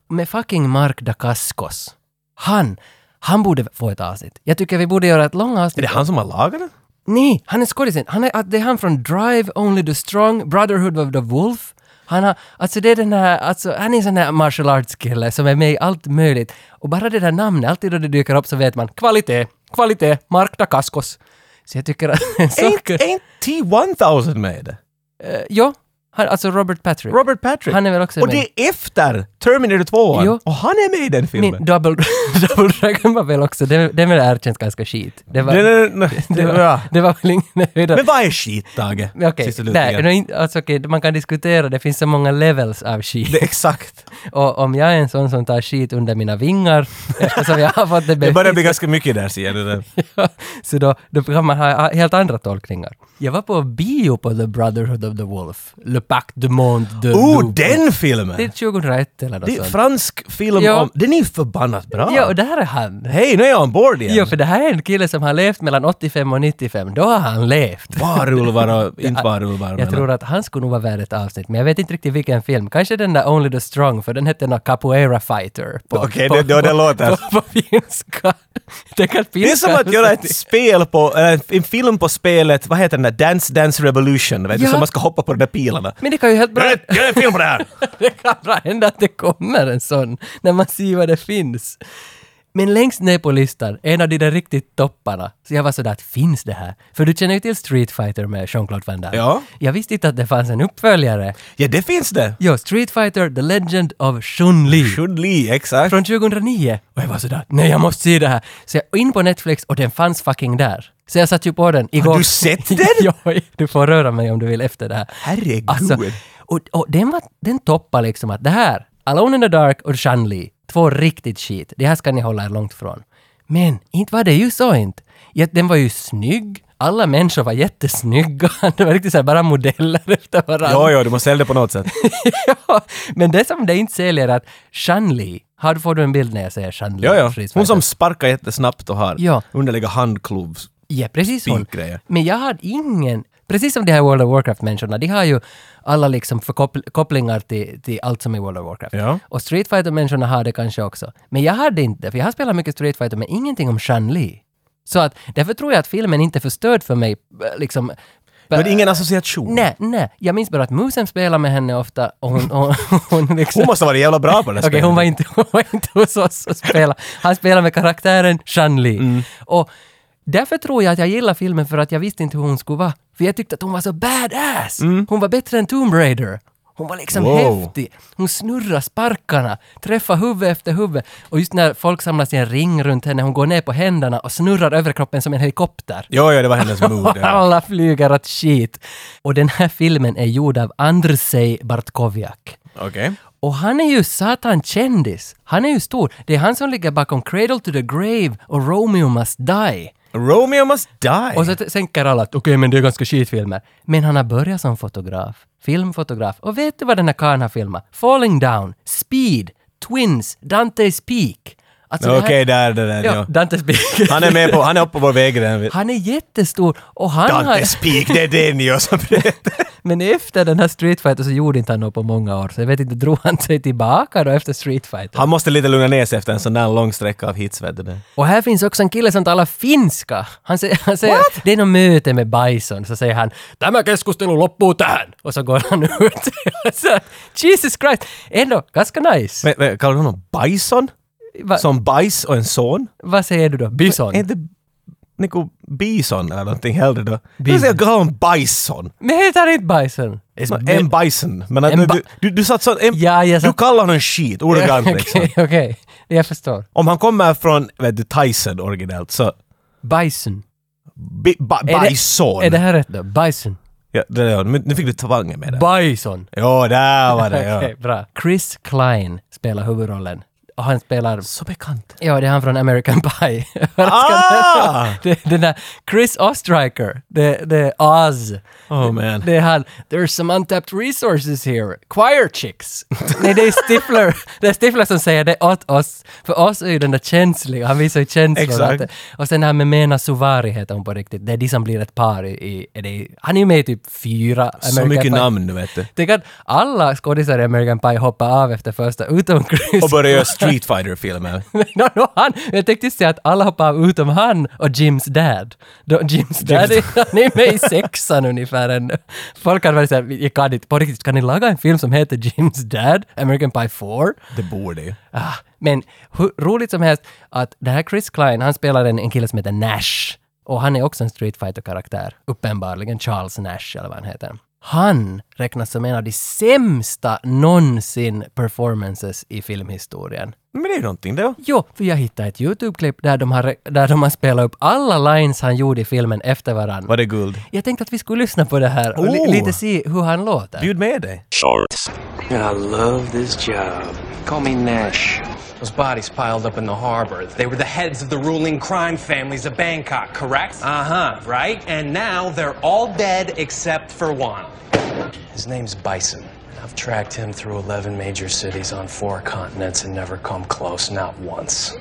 med fucking Mark Dacascos. Han, han borde få ett avsnitt. Jag tycker vi borde göra ett långt Är avsnitt. det han som har lagat den? Nej, han är skådisen. Han är, att det är han från Drive, Only the Strong, Brotherhood of the Wolf. Han har, alltså det är den här, alltså han är en sån här martial arts-kille som är med i allt möjligt. Och bara det där namnet, alltid då det dyker upp så vet man kvalitet, kvalitet, Mark Dacascos. Så jag tycker att... [LAUGHS] så, Ain't, ain't T-1000 med? Eh, ja, han, alltså Robert Patrick. Robert Patrick? Han är väl också och med. det är efter Terminator 2 Jo. och han är med i den filmen. Min double, [LAUGHS] double Dragon var väl också, den den väl erkänns ganska skit. Det var, Det- det- det- [LAUGHS] det det- var, det var väl ingen höjdare. Men vad är skit, Tage? Men Okej, Sist och slutligen. nej, nej, alltså okej, man kan diskutera, det finns så många levels av skit. Det är exakt. Och om jag är en sån som tar skit under mina [LAUGHS] vingar, eftersom jag har fått det Det börjar bevis, bli ganska mycket där, ser du. [LAUGHS] det? så då, då kan man ha helt andra tolkningar. Jag var på bio på The Brotherhood of the Wolf, Le Pacte du Monde de Oh, Loup. den filmen! Det är 2001 eller något Det är en sånt. fransk film Ja. om... Den är ju förbannat bra! Ja, och där är han. Hej, nu är jag ombord igen! Ja, för det här är en kille som har levt mellan 85 och 95. Då har han levt. Varulvar [LAUGHS] och inte varulvar. Jag men- tror att han skulle nog vara värd ett avsnitt, men jag vet inte riktigt vilken film. Kanske den där Only the Strong, för den hette någon Capoeira Fighter. på- Okej, på- det- det- det på- låter. På, på finska. Tänk att Det är som att göra [LAUGHS] ett spel på, eller en film på spelet, vad heter den där, Dance Dance Revolution, vet du, Ja. som man ska hoppa på de där pilarna. Men det kan ju helt bra... Gör en- gör en film på [LAUGHS] det här! det kan bra hända att det kommer en sån, när man ser vad det finns. Men längst ner på listan, en av de där riktigt topparna, så jag var sådär att finns det här? För du känner ju till Street Fighter med Jean-Claude Van Damme. Ja. Jag visste inte att det fanns en uppföljare. Ja, det finns det! Jo, Street Fighter The Legend of Chun-Li. Chun Li, exakt. Från 2009. Och jag var sådär, nej jag måste se det här. Så jag in på Netflix och den fanns fucking där. Så jag satt ju på den igår. du sett den? [LAUGHS] ja, du får röra mig om du vill efter det här. Herregud. Alltså, och, och den, var, den toppar liksom att det här, Alone in the Dark och Shanli, två riktigt skit. Det här ska ni hålla er långt från. Men inte var det ju så inte. Ja, den var ju snygg. Alla människor var jättesnygga. [LAUGHS] Det var riktigt så här bara modeller [LAUGHS] efter varandra. Jo, jo, du måste sälja det på [LAUGHS] något sätt. ja, men det som det inte säljer är att Shanli, här får du en bild när jag säger Shanli. Ja, ja. Hon som sparkar jättesnabbt och har Ja. Äh, underliga handklov. Ja, precis hon. Spinkgrejer. Men jag hade ingen... Precis som de här World of Warcraft-människorna, de har ju alla liksom förkoppl- kopplingar till, till allt som är World of Warcraft. Ja. Och Street Fighter-människorna har det kanske också. Men jag hade inte, för jag har spelat mycket Street Fighter, men ingenting om Shan-Li. Så att, därför tror jag att filmen inte är förstörd för mig, eh, liksom... Men ingen association. Nej, nej. Jag minns bara att musen spelar med henne ofta och hon, och, [LAUGHS] hon liksom... Hon måste ha varit jävla bra på det här Okej, spelet. hon var inte, [LAUGHS] hon var inte hos oss och spelade. Han spelade med karaktären Shanli. Mm. Och därför tror jag att jag gillar filmen för att jag visste inte hur hon skulle vara. För jag tyckte att hon var så badass! Hon var bättre än Tomb Raider. Hon var liksom Mm. Wow. häftig. Hon snurrade sparkarna, träffade huvud efter huvud. Och just när folk samlas i en ring runt henne, hon går ner på händerna och snurrar överkroppen som en helikopter. Jo, jo, det var hennes mood. Och [LAUGHS] Ja. alla flyger åt skit. Och den här filmen är gjord av Andrzej Bartkowiak. Okej. Och han är ju satan kändis. Han är ju stor. Det är han som ligger bakom Cradle to the Grave och Romeo Must Die. Romeo must die. Och så t- tänker alla att okej, men det är ganska skitfilmer. Men han har börjat som fotograf. Filmfotograf. Och vet du vad den här karln har filmat? Falling Down, Speed, Twins, Dante's Peak. Alltså det Okej, här- där, där, där. Ja, Ja. Dante's Peak. Han är med på, han är uppe på vår väg redan. [LAUGHS] Han är jättestor och han Dantes har... Peak, det är den ju som [LAUGHS] Men efter den här Street Fighter så gjorde inte han något på många år. Så jag vet inte, drog han sig tillbaka då efter Street Fighter? Han måste lite lugna ner sig efter en sån där lång sträcka av hits, vet du det. Och här finns också en kille som talar finska. Han säger, han säger det är något möte med Bison, så säger han ”Tämä keskustelu loppuu tähän” och så går han [LAUGHS] ut. så, Jesus Christ! Ändå ganska nice. Men, men, kallar du honom Bison? Va, Som bajs och en son? vad säger du då? Bison? Är inte Nico Bison eller någonting hellre då? Du säger kallar honom Bison. Men heter han inte Bison? En Bison. Men att, En ba- du, du, du satt sån... En, Ja, jag Du satt- kallar honom [LAUGHS] shit, ordagrant Okej, liksom. Okej, jag förstår. Om han kommer från, vet du, Tyson originellt så... Bison. Bi, ba, Är det- bison. Är det här rätt då? Bison. Ja, det, ja, nu nu fick du tvangen med det. Bison. Jo, där var det. Okej, Ja. bra. Chris Klein spelar huvudrollen. och han spelar... Så bekant. Ja, det är han från American [LAUGHS] Pie. Ah! [LAUGHS] det, den där Chris Ostriker, det, det är Oz. Oh man. Det är han, there's some untapped resources here, choir chicks. [LAUGHS] Nej, det är Stifler, det är Stifler som säger det åt oss, för oss är ju den där känsliga, han visar ju känslor. Exakt. Att det- Och sen det här med Mena Suvari heter hon på riktigt, det är de som blir ett par i, i är det, han är ju med i typ fyra Så American mycket Pie. namn nu vet du. Tänk att alla skådisar i American Pie hoppar av efter första, utom Chris Och [LAUGHS] börja göra Street Fighter-filmer. no, no, han, jag tänkte säga att alla hoppar av utom han och Jims dad. Då, Jims dad är, han är med i sexan ungefär ännu. Folk hade varit såhär, jag kan inte, på riktigt, kan ni laga en film som heter Jims dad, American Pie 4? Det borde ju. Ah, men hur roligt som helst att det här Chris Klein, han spelar en, en kille som heter Nash. Och han är också en Street fighter karaktär uppenbarligen. Charles Nash eller vad han heter. Han räknas som en av de sämsta någonsin performances i filmhistorien. Men det är ju någonting det. Jo, för jag hittade ett YouTube-klipp där de, har, där de har spelat upp alla lines han gjorde i filmen efter varandra. Var det guld? Jag tänkte att vi skulle lyssna på det här och li- Oh! lite se hur han låter. Bjud med dig. shorts. I love this job. Call me Nash. Those bodies piled up in the harbor. They were the heads of the ruling crime families of Bangkok, correct? Uh Uh-huh. huh, right? And now they're all dead except for one. His name's Bison. I've tracked him through 11 major cities on four continents and never come close, not once.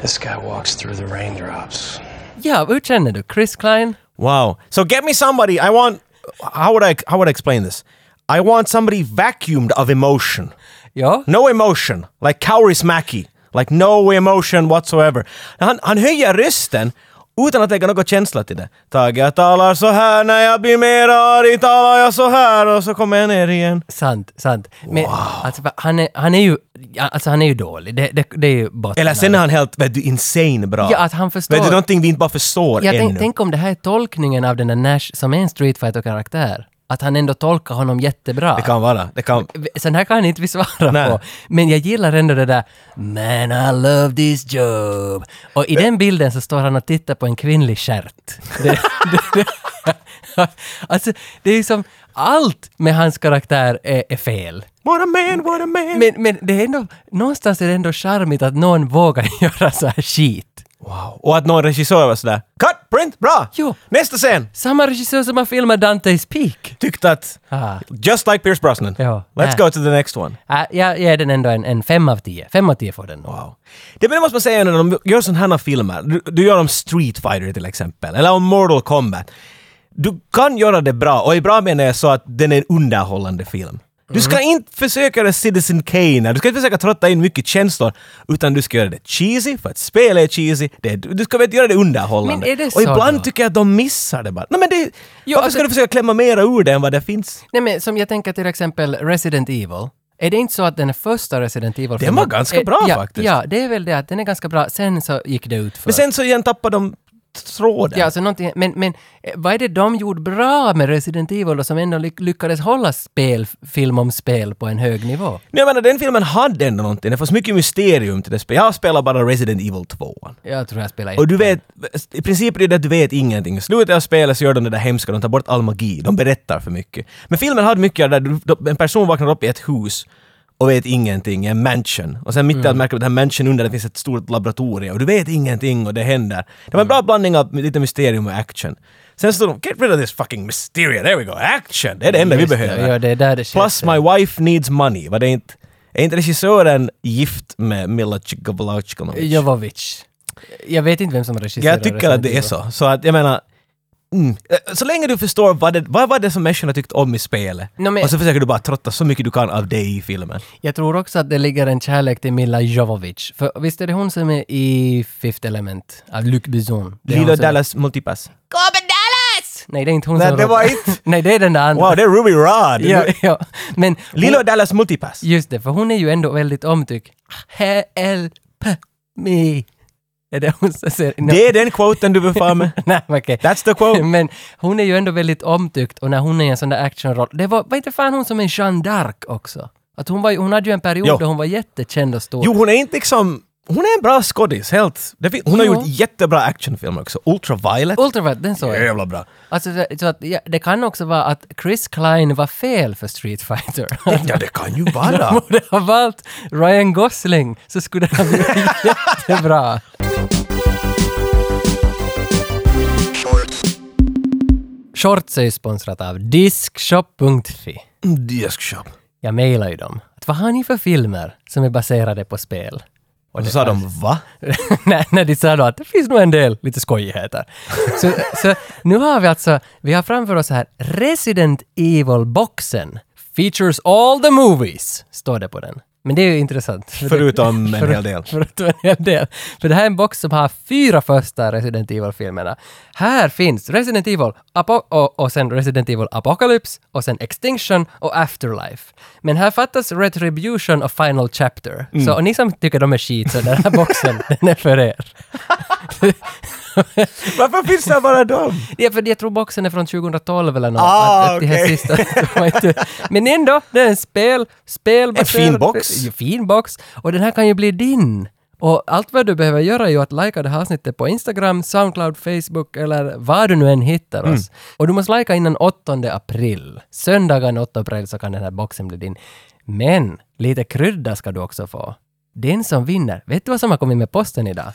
This guy walks through the raindrops. Ja, hur känner du? Chris Klein? Wow. So get me somebody. I want. How would I? How would I explain this? I want somebody vacuumed of emotion. Ja? No emotion. Like Kauris Mackie. Like no emotion whatsoever. Han, han höjer rösten utan att lägga någon känsla till det. Tage, jag talar så här när jag blir mer arg, talar jag så här och så kommer jag ner igen. Sant, sant. Men alltså, va- han, är, han är ju... ja, Alltså han är ju dålig. Det, det, det är ju botten. Eller sen är av- han helt, vet du, insane bra. Ja, att han förstår. Vet du, någonting vi inte bara förstår jag ännu. tänk, tänk om det här är tolkningen av den där Nash som är en Street fighter karaktär Att han ändå tolkar honom jättebra. Det kan vara. Det kan... Sen här kan inte vi svara Nej. på. Men jag gillar ändå det där “Man, I love this job”. Och i den bilden så står han och tittar på en kvinnlig stjärt. [LAUGHS] Det, det, det, [LAUGHS] alltså, det är ju som allt med hans karaktär är, är fel. What a man, what a man. Men, men det är ändå, någonstans är det ändå charmigt att någon vågar [LAUGHS] göra så här skit. Wow. Och att någon regissör var sådär Cut! Print! Bra! Jo. Nästa scen! Samma regissör som har filmat Dante's Peak. Tyckte att... Ah. Just like Pierce Brosnan. Ja. Let's Nä. go to the next one. Äh, jag ger den ändå en, en fem av tio. Fem av tio får den nog. Wow. Det men det måste man säga när de gör sådana här filmer. Du, du gör om Street Fighter till exempel, eller om Mortal Kombat. Du kan göra det bra, och i bra menar jag så att den är en underhållande film. Du ska inte försöka göra Citizen Kane, du ska inte försöka trötta in mycket känslor, utan du ska göra det cheesy, för att spelet är cheesy. Det, du ska vet, göra det underhållande. Men är det så och ibland då? tycker jag att de missar det bara. Nej, men det, Jo, varför alltså- ska du försöka klämma mera ur det än vad det finns? Nej men som jag tänker till exempel Resident Evil. Är det inte så att den första Resident Evil... Den var ganska Eh, bra ja, faktiskt. Ja, det är väl det att den är ganska bra. Sen så gick det ut för. Men sen så igen tappar de tråden. Ja, alltså någonting, men, men eh, vad är det de gjorde bra med Resident Evil då som ändå lyck- lyckades hålla spel, film om spel på en hög nivå? Men jag menar, den filmen hade ändå någonting. Det fanns mycket mysterium till det spelet. Jag spelar bara Resident Evil 2. Jag tror jag spelar Och du vet, i princip är det det att du vet ingenting. I slutet av spelet så gör de det där hemska, de tar bort all magi, de berättar för mycket. Men filmen hade mycket av det där, du- de- en person vaknar upp i ett hus och vet ingenting, en mansion. Och sen mitt i Mm. allt märker du att den här mansion under det finns ett stort laboratorium och du vet ingenting och det händer. Det var en bra Mm. blandning av lite mysterium och action. Sen stod de “Get rid of this fucking mysteria, there we go, action!” Det är det enda vi Just det, behöver. ja, det är där det Plus skiter. my wife needs money. Var det inte... Är inte regissören gift med Mila Cigabalacic? Jovovich. Jag vet inte vem som regisserar Jag tycker att det är Resident Evil. så. Så att jag menar... Mm. Eh, Så länge du förstår vad det, vad var det som människorna tyckte om i spelet Nå, men- och så försöker du bara trotta så mycket du kan av det i filmen. Jag tror också att det ligger en kärlek till Mila Jovovich. För visst är det hon som är i Fifth Element av Luc Besson? Det är hon Lilo som- Dallas Multipass. Nej, det är inte hon Nej, som det var råkar- inte- [LAUGHS] Nej, det är den där andra. [LAUGHS] Wow, det är Ruby Rod! ja, ja. Men Lilo hon, Dallas Multipass. just det, för hon är ju ändå väldigt omtyckt. Help me. Är det hon som säger? No. Det är den quoten du vill fram med. [LAUGHS] Nej, men okej. That's the [LAUGHS] quote. Men hon är ju ändå väldigt omtyckt och när hon är i en sån där actionroll. Det var, var inte fan hon som en Jeanne d'Arc också? Att hon, var, ju- hon hade ju en period Jo. då hon var jättekänd och stor. Jo, hon är inte liksom Hon är en bra skådis, helt. Det fin- hon har Jo. gjort jättebra actionfilmer också. Ultraviolet. Ultraviolet, den såg jag. Jävla bra. Alltså, det- så att, ja, det kan också vara att Chris Klein var fel för Street Fighter. Ja, det kan ju Han [LAUGHS] vara. borde ha valt Ryan Gosling så skulle det ha blivit [LAUGHS] jättebra. Shorts är ju sponsrat av Diskshop.fi. Mm, Diskshop. Jag mejlar ju dem. Att vad har ni för filmer som är baserade på spel? Och så sa de va? [LAUGHS] när, när de sa då att det finns nog en del lite [LAUGHS] skojigheter. Så, så nu har vi alltså, vi har framför oss här Resident Evil-boxen. Features all the movies, står det på den. Men det är ju intressant. För det- Förutom en hel del. [LAUGHS] Förutom en hel del. För det här är en box som har fyra första Resident Evil-filmerna. Här finns Resident Evil Apo- och, och sen Resident Evil Apocalypse och sen Extinction och Afterlife. Men här fattas Retribution och Final Chapter. Så och ni som tycker de är skit, så den här boxen, [LAUGHS] den är för er. Varför finns det bara dem? Mm. Ja, för jag tror boxen är från 2012 eller något. Ah, att, att det här okej. sista, [LAUGHS] det var inte- Men ändå, det är en spel, spelbaserad... En fin box. Ja, fin box. Och den här kan ju bli din. Och allt vad du behöver göra är ju att likea det här avsnittet på Instagram, Soundcloud, Facebook eller var du nu än hittar oss. Mm. Och du måste likea innan 8 april. Söndagen 8 april så kan den här boxen bli din. Men lite krydda ska du också få. Den som vinner, vet du vad som har kommit med posten idag?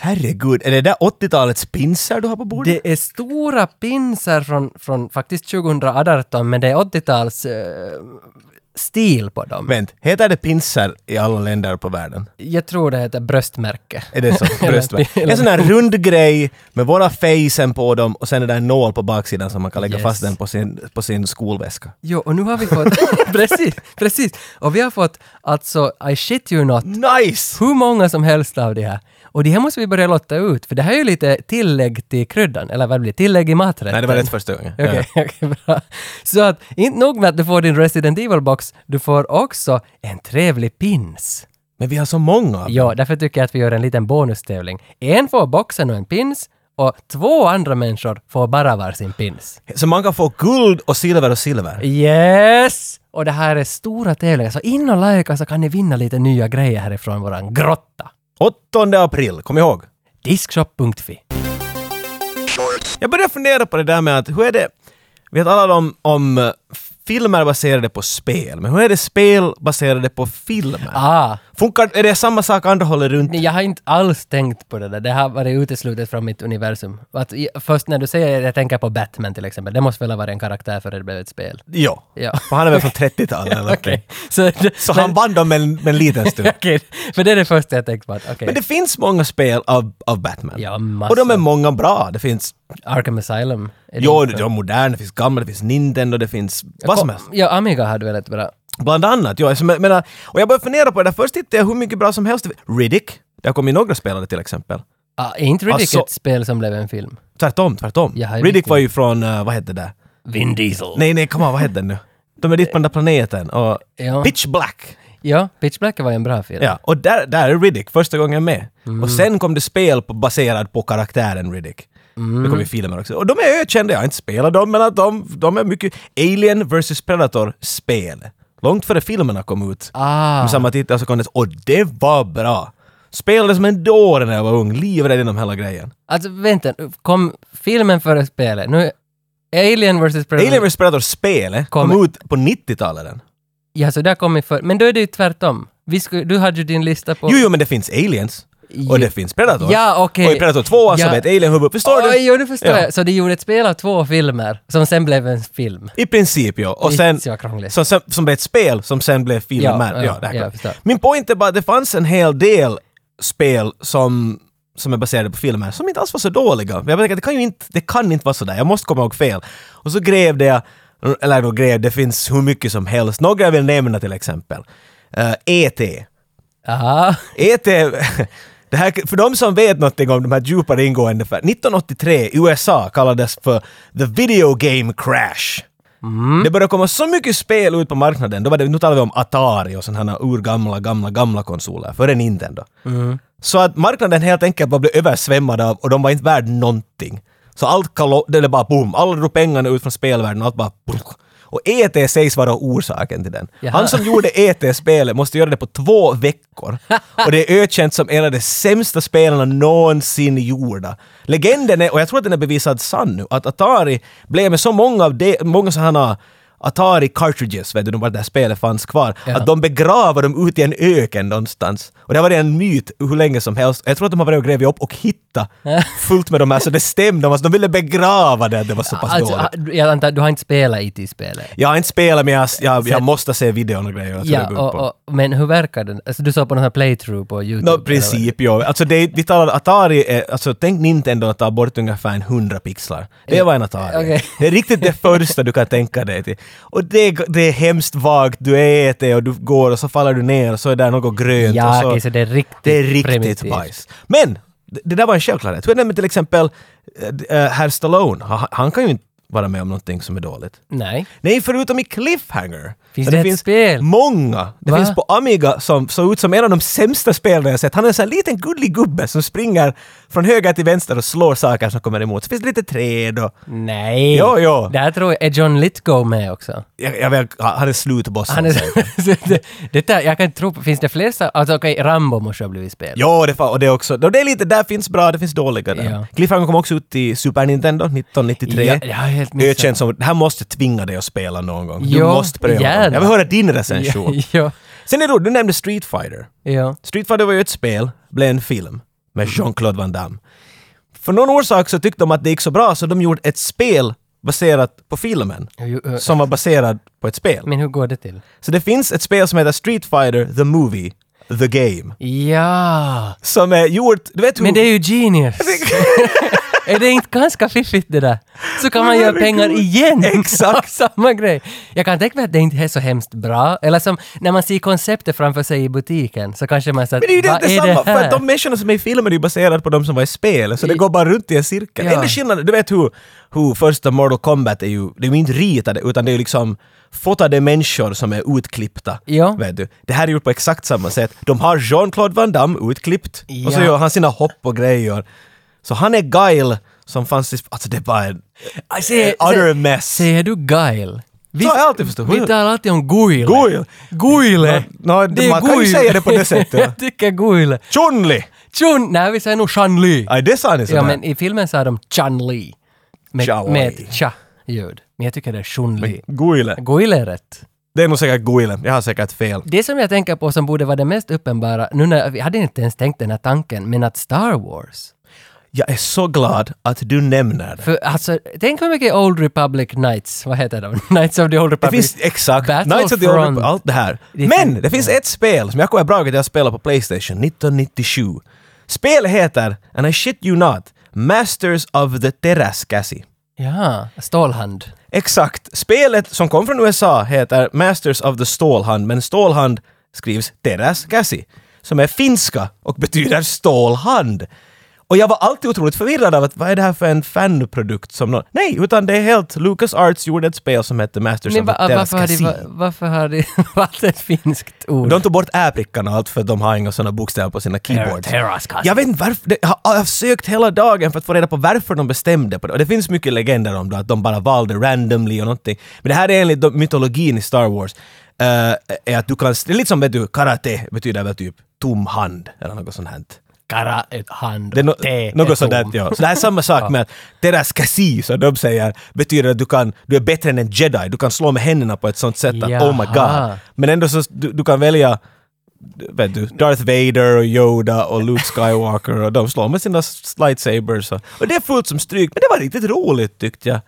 Herregud, är det där 80-talets pinsar du har på bordet? Det är stora pinsar från, från faktiskt 2018, men det är 80-tals eh, stil på dem. Vänt, heter det pinsar i alla länder på världen? Jag tror det heter bröstmärke. Är [LAUGHS] det så? Bröstvärk. En sån här rund grej med våra facen på dem och sen är det en nål på baksidan som man kan lägga Yes. fast den på sin, på sin skolväska. Jo, och nu har vi fått... [LAUGHS] precis, precis. Och vi har fått, alltså, I shit you not, Nice! hur många som helst av de här. Och det här måste vi börja lotta ut, för det här är ju lite tillägg till kryddan, eller vad blir det? Tillägg i maträtten. Nej, det var rätt första gången. [LAUGHS] Okej, okej, bra. Så att, inte nog med att du får din Resident Evil-box, du får också en trevlig pins. Men vi har så många av Ja, därför tycker jag att vi gör en liten bonustävling. En får boxen och en pins och två andra människor får bara varsin pins. Så man kan få guld och silver och silver. Yes! Och det här är stora tävlingar, så in och likea så kan ni vinna lite nya grejer härifrån våran grotta. 8 april, kom ihåg. Diskshop.fi. Jag börjar fundera på det där med att hur är det... Vi har talat om, om eh, filmer baserade på spel, men hur är det spel baserade på filmer? Ah, Funkar, är det samma sak andra håller runt? nej, jag har inte alls tänkt på det där. Det har varit uteslutet från mitt universum. Att, i- först när du säger det, jag tänker på Batman till exempel. Det måste väl ha varit en karaktär för det blev ett spel. Ja. [LAUGHS] Ja. För han är väl från [LAUGHS] 30-talet eller någonting. Så, Så [LAUGHS] han vann dem med, en- med en liten stund. Okej, för det är det första jag tänkte på. att, Okej, Men det finns många spel av, av Batman. Ja, massor. och de är många bra. Det finns... Arkham Asylum. är det Jo, inte- det är moderna, det finns gamla, det finns Nintendo, det finns vad som helst. Ja, Amiga hade väl ett bra... Bland annat, ja. Jag menar, och jag började fundera på det där. Först tittade jag hur mycket bra som helst. Riddick. Det har kommit några spelare till exempel. Ah, är inte Riddick Alltså- ett spel som blev en film? Tvärtom, tvärtom. Jaha, Riddick vilken? var ju från, eh, vad hette det? Vin Diesel. Nej, nej, kom on, vad hette den nu? De är dit på den där planeten och... Ja. Pitch Black! Ja, Pitch Black var ju en bra film. Ja, och där, där är Riddick första gången med. Mm. Och sen kom det spel på, baserat på karaktären Riddick. Mm. Det kom ju filmer också. Och de är ökända, jag har inte spelat dem, men att de, de är mycket... Alien vs Predator-spel. Långt före filmerna kom ut. Ah. Med samma titel så kom det... Och det var bra! Spelade som en dåre när jag var ung, livrädd inom hela grejen. Alltså vänta, kom filmen före spelet? Nu... Alien vs Predator. Alien vs Predator-spelet kom, Kom- ut på 90-talet. den. Ja, så där kom vi för... Men då är det ju tvärtom. Vi skulle... Du hade ju din lista på... Jo, jo, men det finns aliens. Och det finns Predator. Ja, okej. Och i Predator 2 så Ja. är ett alien-huvud. Förstår du? Oj, jo, nu förstår Ja. jag. Så de gjorde ett spel av två filmer, som sen blev en film. I princip ja. Och Shit, sen, vad krångligt. som, som, som blev ett spel som sen blev filmer. Ja, Ja, ja, det här ja, klart. jag förstår. Min point är bara att det fanns en hel del spel som, som är baserade på filmer som inte alls var så dåliga. Jag tänkte att det kan ju inte, det kan inte vara sådär. Jag måste komma ihåg fel. Och så grävde jag, eller då grävde, det finns hur mycket som helst. Några jag vill nämna till exempel. Eh, E.T. Aha. E.T. E [LAUGHS] Det här, för de som vet någonting om de här djupare ingående, för 1983 i USA kallades för The Video Game Crash. Det började komma så mycket spel ut på marknaden, då var det, nu talar vi om Atari och sådana här urgamla, gamla, gamla konsoler, före Nintendo. Så att marknaden helt enkelt bara blev översvämmad av, och de var inte värd någonting. Så allt kalo- det är bara boom, alla drog pengarna ut från spelvärlden och allt bara... Och ET sägs vara orsaken till den. Jaha. Han som gjorde ET-spelet måste göra det på [LAUGHS] två veckor. Och det är ökänt som en av de sämsta spelarna någonsin gjorda. Legenden är, och jag tror att den är bevisad sann nu, att Atari blev med så många av de, många sådana Atari cartridges, vet du, de var där spelet fanns kvar, Ja. att de begravar dem ute i en öken någonstans. Och det har varit en myt hur länge som helst. Jag tror att de har varit och grävt upp och [LAUGHS] hittat fullt med de här, så det stämde. Alltså, de ville begrava det, det var så pass Alltså, dåligt. ha- jag antar, du har inte spelat IT-spelet? Jag har inte spelat men jag, jag, Sett- jag måste se videon och grejer. Jag tror det Ja, beror och, på. och, men hur verkar den? Alltså, du såg på någon sån här playthrough på YouTube? Nå, eller vad? princip, ja. Alltså det, är- vi talar Atari, är, alltså tänk Nintendo att ta bort ungefär en 100 pixlar. Det var en Atari. Okej. Det är riktigt det första du kan tänka dig till. Och det, är- det är hemskt vagt, du äter och du går och så faller du ner och så är där något grönt Ja, och så... okej, så det är riktigt Alltså, Det är riktigt primitivt. bajs. Men! Det, det där var en självklarhet. Hur är det med till exempel eh, d- eh, herr Stallone? Han, han kan ju inte vara med om någonting som är dåligt. Nej. Nej, förutom i Cliffhanger. Finns Och det ett spel? Många. Det Va? finns på Amiga som såg ut som en av de sämsta spelen jag sett. Han är en sån här liten gullig gubbe som springer från höger till vänster och slår saker som kommer emot. Så finns det lite träd och... Nej. Jo, jo. Där tror jag, är John Lithgow med också? Jag, jag vet, han är slutbossen. Han är, [LAUGHS] så det, det där, jag kan inte tro på, finns det fler så- Alltså okej, Rambo måste ha blivit spel. [LAUGHS] Ja, det, är fan- och det är också... Och det är lite, där finns bra, det finns dåliga där. Ja. Cliffhanger kom också ut i Super Nintendo 1993. Ja, jag har helt missat. det känns som, det här måste tvinga dig att spela någon gång. Du Jo, måste pröva. gärna. Jag vill höra din recension. [LAUGHS] ja, Sen är det roligt, du nämnde Street Fighter. ja. Street Fighter var ju ett spel, blev en film Mm. med Jean-Claude Van Damme. För någon orsak så tyckte de att det gick så bra så de gjorde ett spel baserat på filmen. Jo, eh, Som var baserad på ett spel. Men hur går det till? Så det finns ett spel som heter Street Fighter The Movie, The Game. Ja! Som är gjort, du vet hur... Men det är ju genius! [LAUGHS] är det inte ganska fiffigt det där? Så kan man göra pengar igen! [LAUGHS] Exakt. Samma grej! Jag kan tänka mig att det inte är så hemskt bra, eller som när man ser konceptet framför sig i butiken så kanske man säger Men det är ju vad det, är detsamma, det för här? att de människorna som är i filmen är ju baserade på de som var i spel, så det I- går bara runt i en cirkel. Ja. Enda skillnaden, du vet hur, hur första Mortal Kombat är ju, det är ju inte ritade, utan det är ju liksom fotade människor som är utklippta. Ja. Vet du? Det här är gjort på exakt samma sätt. De har Jean-Claude Van Damme utklippt, och så Ja. gör han sina hopp och grejer. Så han är Guile som fanns i... Alltså det är bara en... Ah, se- an utter se- mess. Ser du Guile? Vi, Så har jag alltid förstått. vi talar alltid om Guile. Guile. Guile! Nå- nå, man kan ju säga det på det [LAUGHS] sättet. jag tycker Guile. Chun-Li! Chun, nej vi säger nog Chun-Li. Aj, det sa ni Ja, sådär. men i filmen sa de Chun-Li. Med, Chun-Li. med ett tja-ljud. Men jag tycker det är Chun-Li. Guile. Guile är rätt. Det är nog säkert Guile. Jag har säkert fel. Det som jag tänker på som borde vara det mest uppenbara, nu när, jag hade inte ens tänkt den här tanken, men att Star Wars. Jag är så glad att du nämner det. För alltså, tänk hur mycket Old Republic Knights, vad heter de? [LAUGHS] Knights of the Old Det Republic. finns exakt, Battlefront. Knights of the Old Republic, allt det här. Det Men finns- det finns ett spel som jag kommer ihåg att jag spelade på Playstation 1997. Spelet heter, and I shit you not, Masters of the Terraskasi. Ja, Stålhand. Exakt. Spelet som kom från USA heter Masters of the Stålhand, men Stålhand skrivs Terraskasi, som är finska och betyder stålhand. Och jag var alltid otroligt förvirrad av att vad är det här för en fanprodukt som någon... Nej, utan det är helt... Lucas Arts gjorde ett spel som hette Masters Men of the va, varför har Terraskasi. det va- varför har [LAUGHS] det varit ett finskt ord? De tog bort äprickan och allt för att de har inga sådana bokstäver på sina keyboards. Terraskasi. Jag vet inte varför, det, jag har- jag har sökt hela dagen för att få reda på varför de bestämde på det. Och det finns mycket legender om det, att de bara valde randomly och någonting. Men det här är enligt de- mytologin i Star Wars. eh, är att du kan, det är lite som vet du, karate betyder väl typ tom hand eller något sånt här. Kara ett hand Det är no, och te ett något sånt där, tom. [LAUGHS] ja. Så det här är samma sak med att deras kasi, som de säger, betyder att du, kan, du är bättre än en jedi. Du kan slå med händerna på ett sånt sätt att oh my Jaha. god. Men ändå så, du, du kan välja vet du, Darth Vader och Yoda och Luke Skywalker och de slår med sina lightsabers. Och, och det är fullt som stryk, men det var riktigt roligt tyckte jag.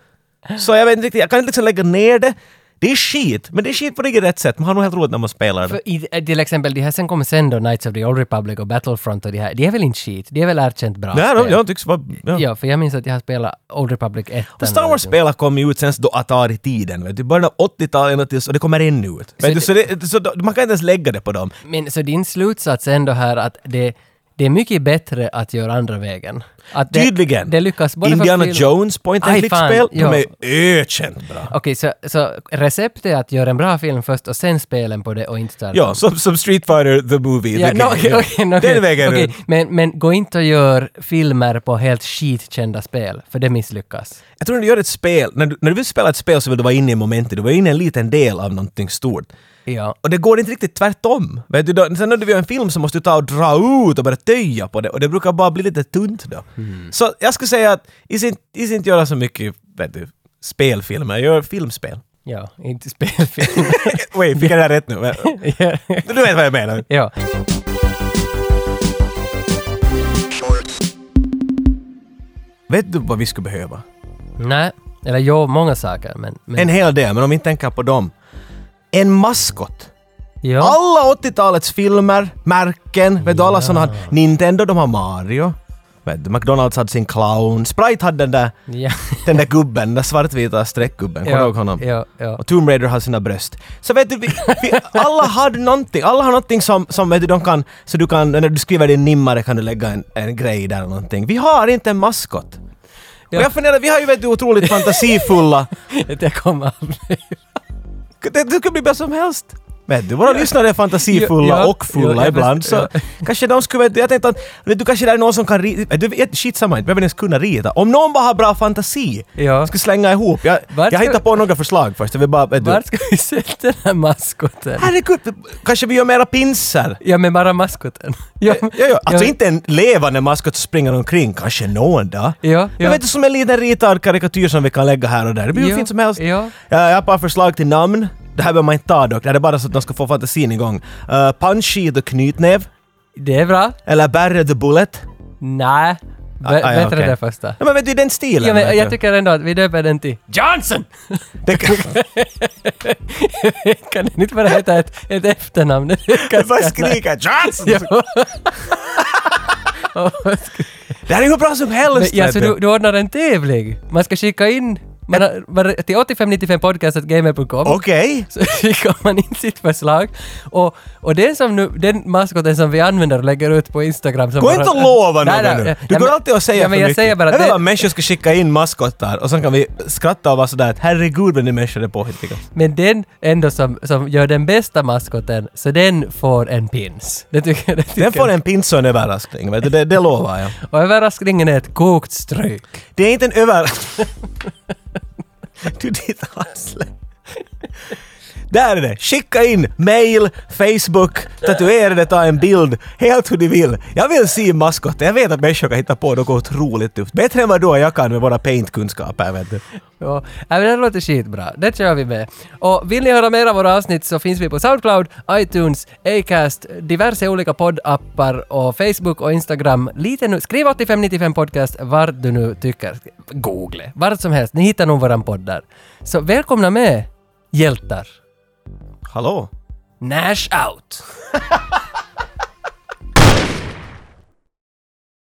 Så jag vet inte riktigt, jag kan inte liksom lägga ner det. Det är skit, men det är skit på det rätt sätt. Man har nog helt roligt när man spelar det. För i, eh, till exempel, de här sen kommer sen då, Knights of the Old Republic och Battlefront och de här, de är väl inte shit? De är väl erkänt bra Nej, spel? de, jag tycks vara... Ja. Ja, för jag minns att jag har spelat Old Republic 1. Och Star Wars-spel kom ju ut sen då Atari-tiden, vet du. I början av 80-talet och tills- och det kommer ännu ut. Vet du, så det, så då- man kan inte ens lägga det på dem. Men så din slutsats är ändå här att det, Det är mycket bättre att göra andra vägen. Att det, Tydligen. Det lyckas både för Indiana film- Jones point and Aj, click-spel, fan, de är ja. ökänt bra. Okej, så, så receptet är att göra en bra film först och sen spelen på det och inte starta. Ja, som, som Street Fighter the Movie. Ja, the no, game. okej, [LAUGHS] okej, no, okej. Den vägen Okej, runt. men, men gå inte och gör filmer på helt skitkända spel, för det misslyckas. Jag tror när du gör ett spel, när du, när du vill spela ett spel så vill du vara inne i momentet, du vill vara inne i en liten del av någonting stort. Ja. Och det går inte riktigt tvärtom. Vet du, då, sen när du gör en film så måste du ta och dra ut och börja töja på det och det brukar bara bli lite tunt då. Så jag skulle säga att is inte, is inte göra så mycket vet du, spelfilmer, gör filmspel. [LAUGHS] Ja, inte spelfilm. Wait, fick jag det här rätt nu? Men- [LAUGHS] ja. Du vet vad jag menar. [LAUGHS] ja. Vet du vad vi skulle behöva? Nej, eller jo, många saker, men... men En hel del, men om vi inte tänker på dem. En maskot. ja. Alla 80-talets filmer, märken, vet du alla såna hade Nintendo, de har Mario. Vet du, McDonalds hade sin clown. Sprite hade den där, Ja. den där gubben, den där svartvita streckgubben. Kommer du ihåg honom? Ja, ja. Och Tomb Raider har sina bröst. Så vet du, vi, vi, alla har någonting. Alla har någonting som, som vet du, de kan... Så du kan, när du skriver din nimmare kan du lägga en, en grej där eller någonting. Vi har inte en maskot. Ja. Och jag funderar, vi har ju vet du otroligt fantasifulla... Det kommer aldrig. Det, det kan bli vad som helst. Men du, våra lyssnare är fantasifulla Ja, ja. och fulla Ja, jag ibland. förstår, Så kanske de skulle... vet du, Jag tänkte att vet du kanske det är någon som kan rita... Du, vet, shit samma, inte behöver ens kunna rita. Om någon bara har bra fantasi, Ja. ska slänga ihop. Jag, Vart jag ska- hittar på några förslag först. Jag vill bara... Vet du, Vart ska vi sätta den här maskoten? herregud, kanske vi gör mera pinsar? Ja, men bara maskoten. Ja, Ja, ja. Alltså ja. inte en levande maskot som springer omkring, kanske någon dag. Ja, Men ja. vet du, som en liten ritad karikatyr som vi kan lägga här och där. Det blir hur Ja, fint som helst. ja. jag har bara förslag till namn. Det här behöver man inte ta dock, det här är bara så att de ska få fantasin igång. Uh, Punchy the Knytnäv. Det är bra. Eller Barry the Bullet. Nej. Be- Ah, ah, ja, bättre okej. det första. Ja, men vet du, i den stilen. Ja, vet men jag du. tycker ändå att vi döper den till Johnson! Det kan- [LAUGHS] [LAUGHS] kan den inte bara heta ett, ett efternamn? Jag bara skrika Johnson! Det här är hur bra som helst! Ja, vet så du. du, du ordnar en tävling. Man ska skicka in man har, var, till 8595podcast.gamer.com Okej. så [LAUGHS] skickar man in sitt förslag. Och, och den, som nu, den maskoten som vi använder och lägger ut på Instagram som Gå bara- inte och lova Nej, något nej, nu. ja, Du ja, går men- alltid och säger ja, men för jag mycket. säger bara jag vill det, att människor ska skicka in maskottar och sen kan vi skratta och vara sådär att herregud vad ni människor är påhittiga. Men den ändå som, som gör den bästa maskoten, så den får en pins. Det tycker, det tycker Den får jag. en pins och en överraskning, vet du, det, det lovar jag. Och överraskningen är ett kokt stryk. Det är inte en över... [LAUGHS] du ditt arsle. Där är det! Skicka in mail, Facebook, tatuera det, ta en bild, helt hur du vill. Jag vill se maskotten, jag vet att människor kan hitta på något otroligt tufft. Bättre än vad du och jag kan med våra paint-kunskaper, vet du. Ja, nej, men det låter skitbra. Det kör vi med. Och vill ni höra mer av våra avsnitt så finns vi på Soundcloud, iTunes, Acast, diverse olika poddappar och Facebook och Instagram. Lite nu, skriv 8595 podcast vart du nu tycker. Googla, vart som helst. Ni hittar nog våran podd där. Så välkomna med, hjältar. Hallå? Nash out!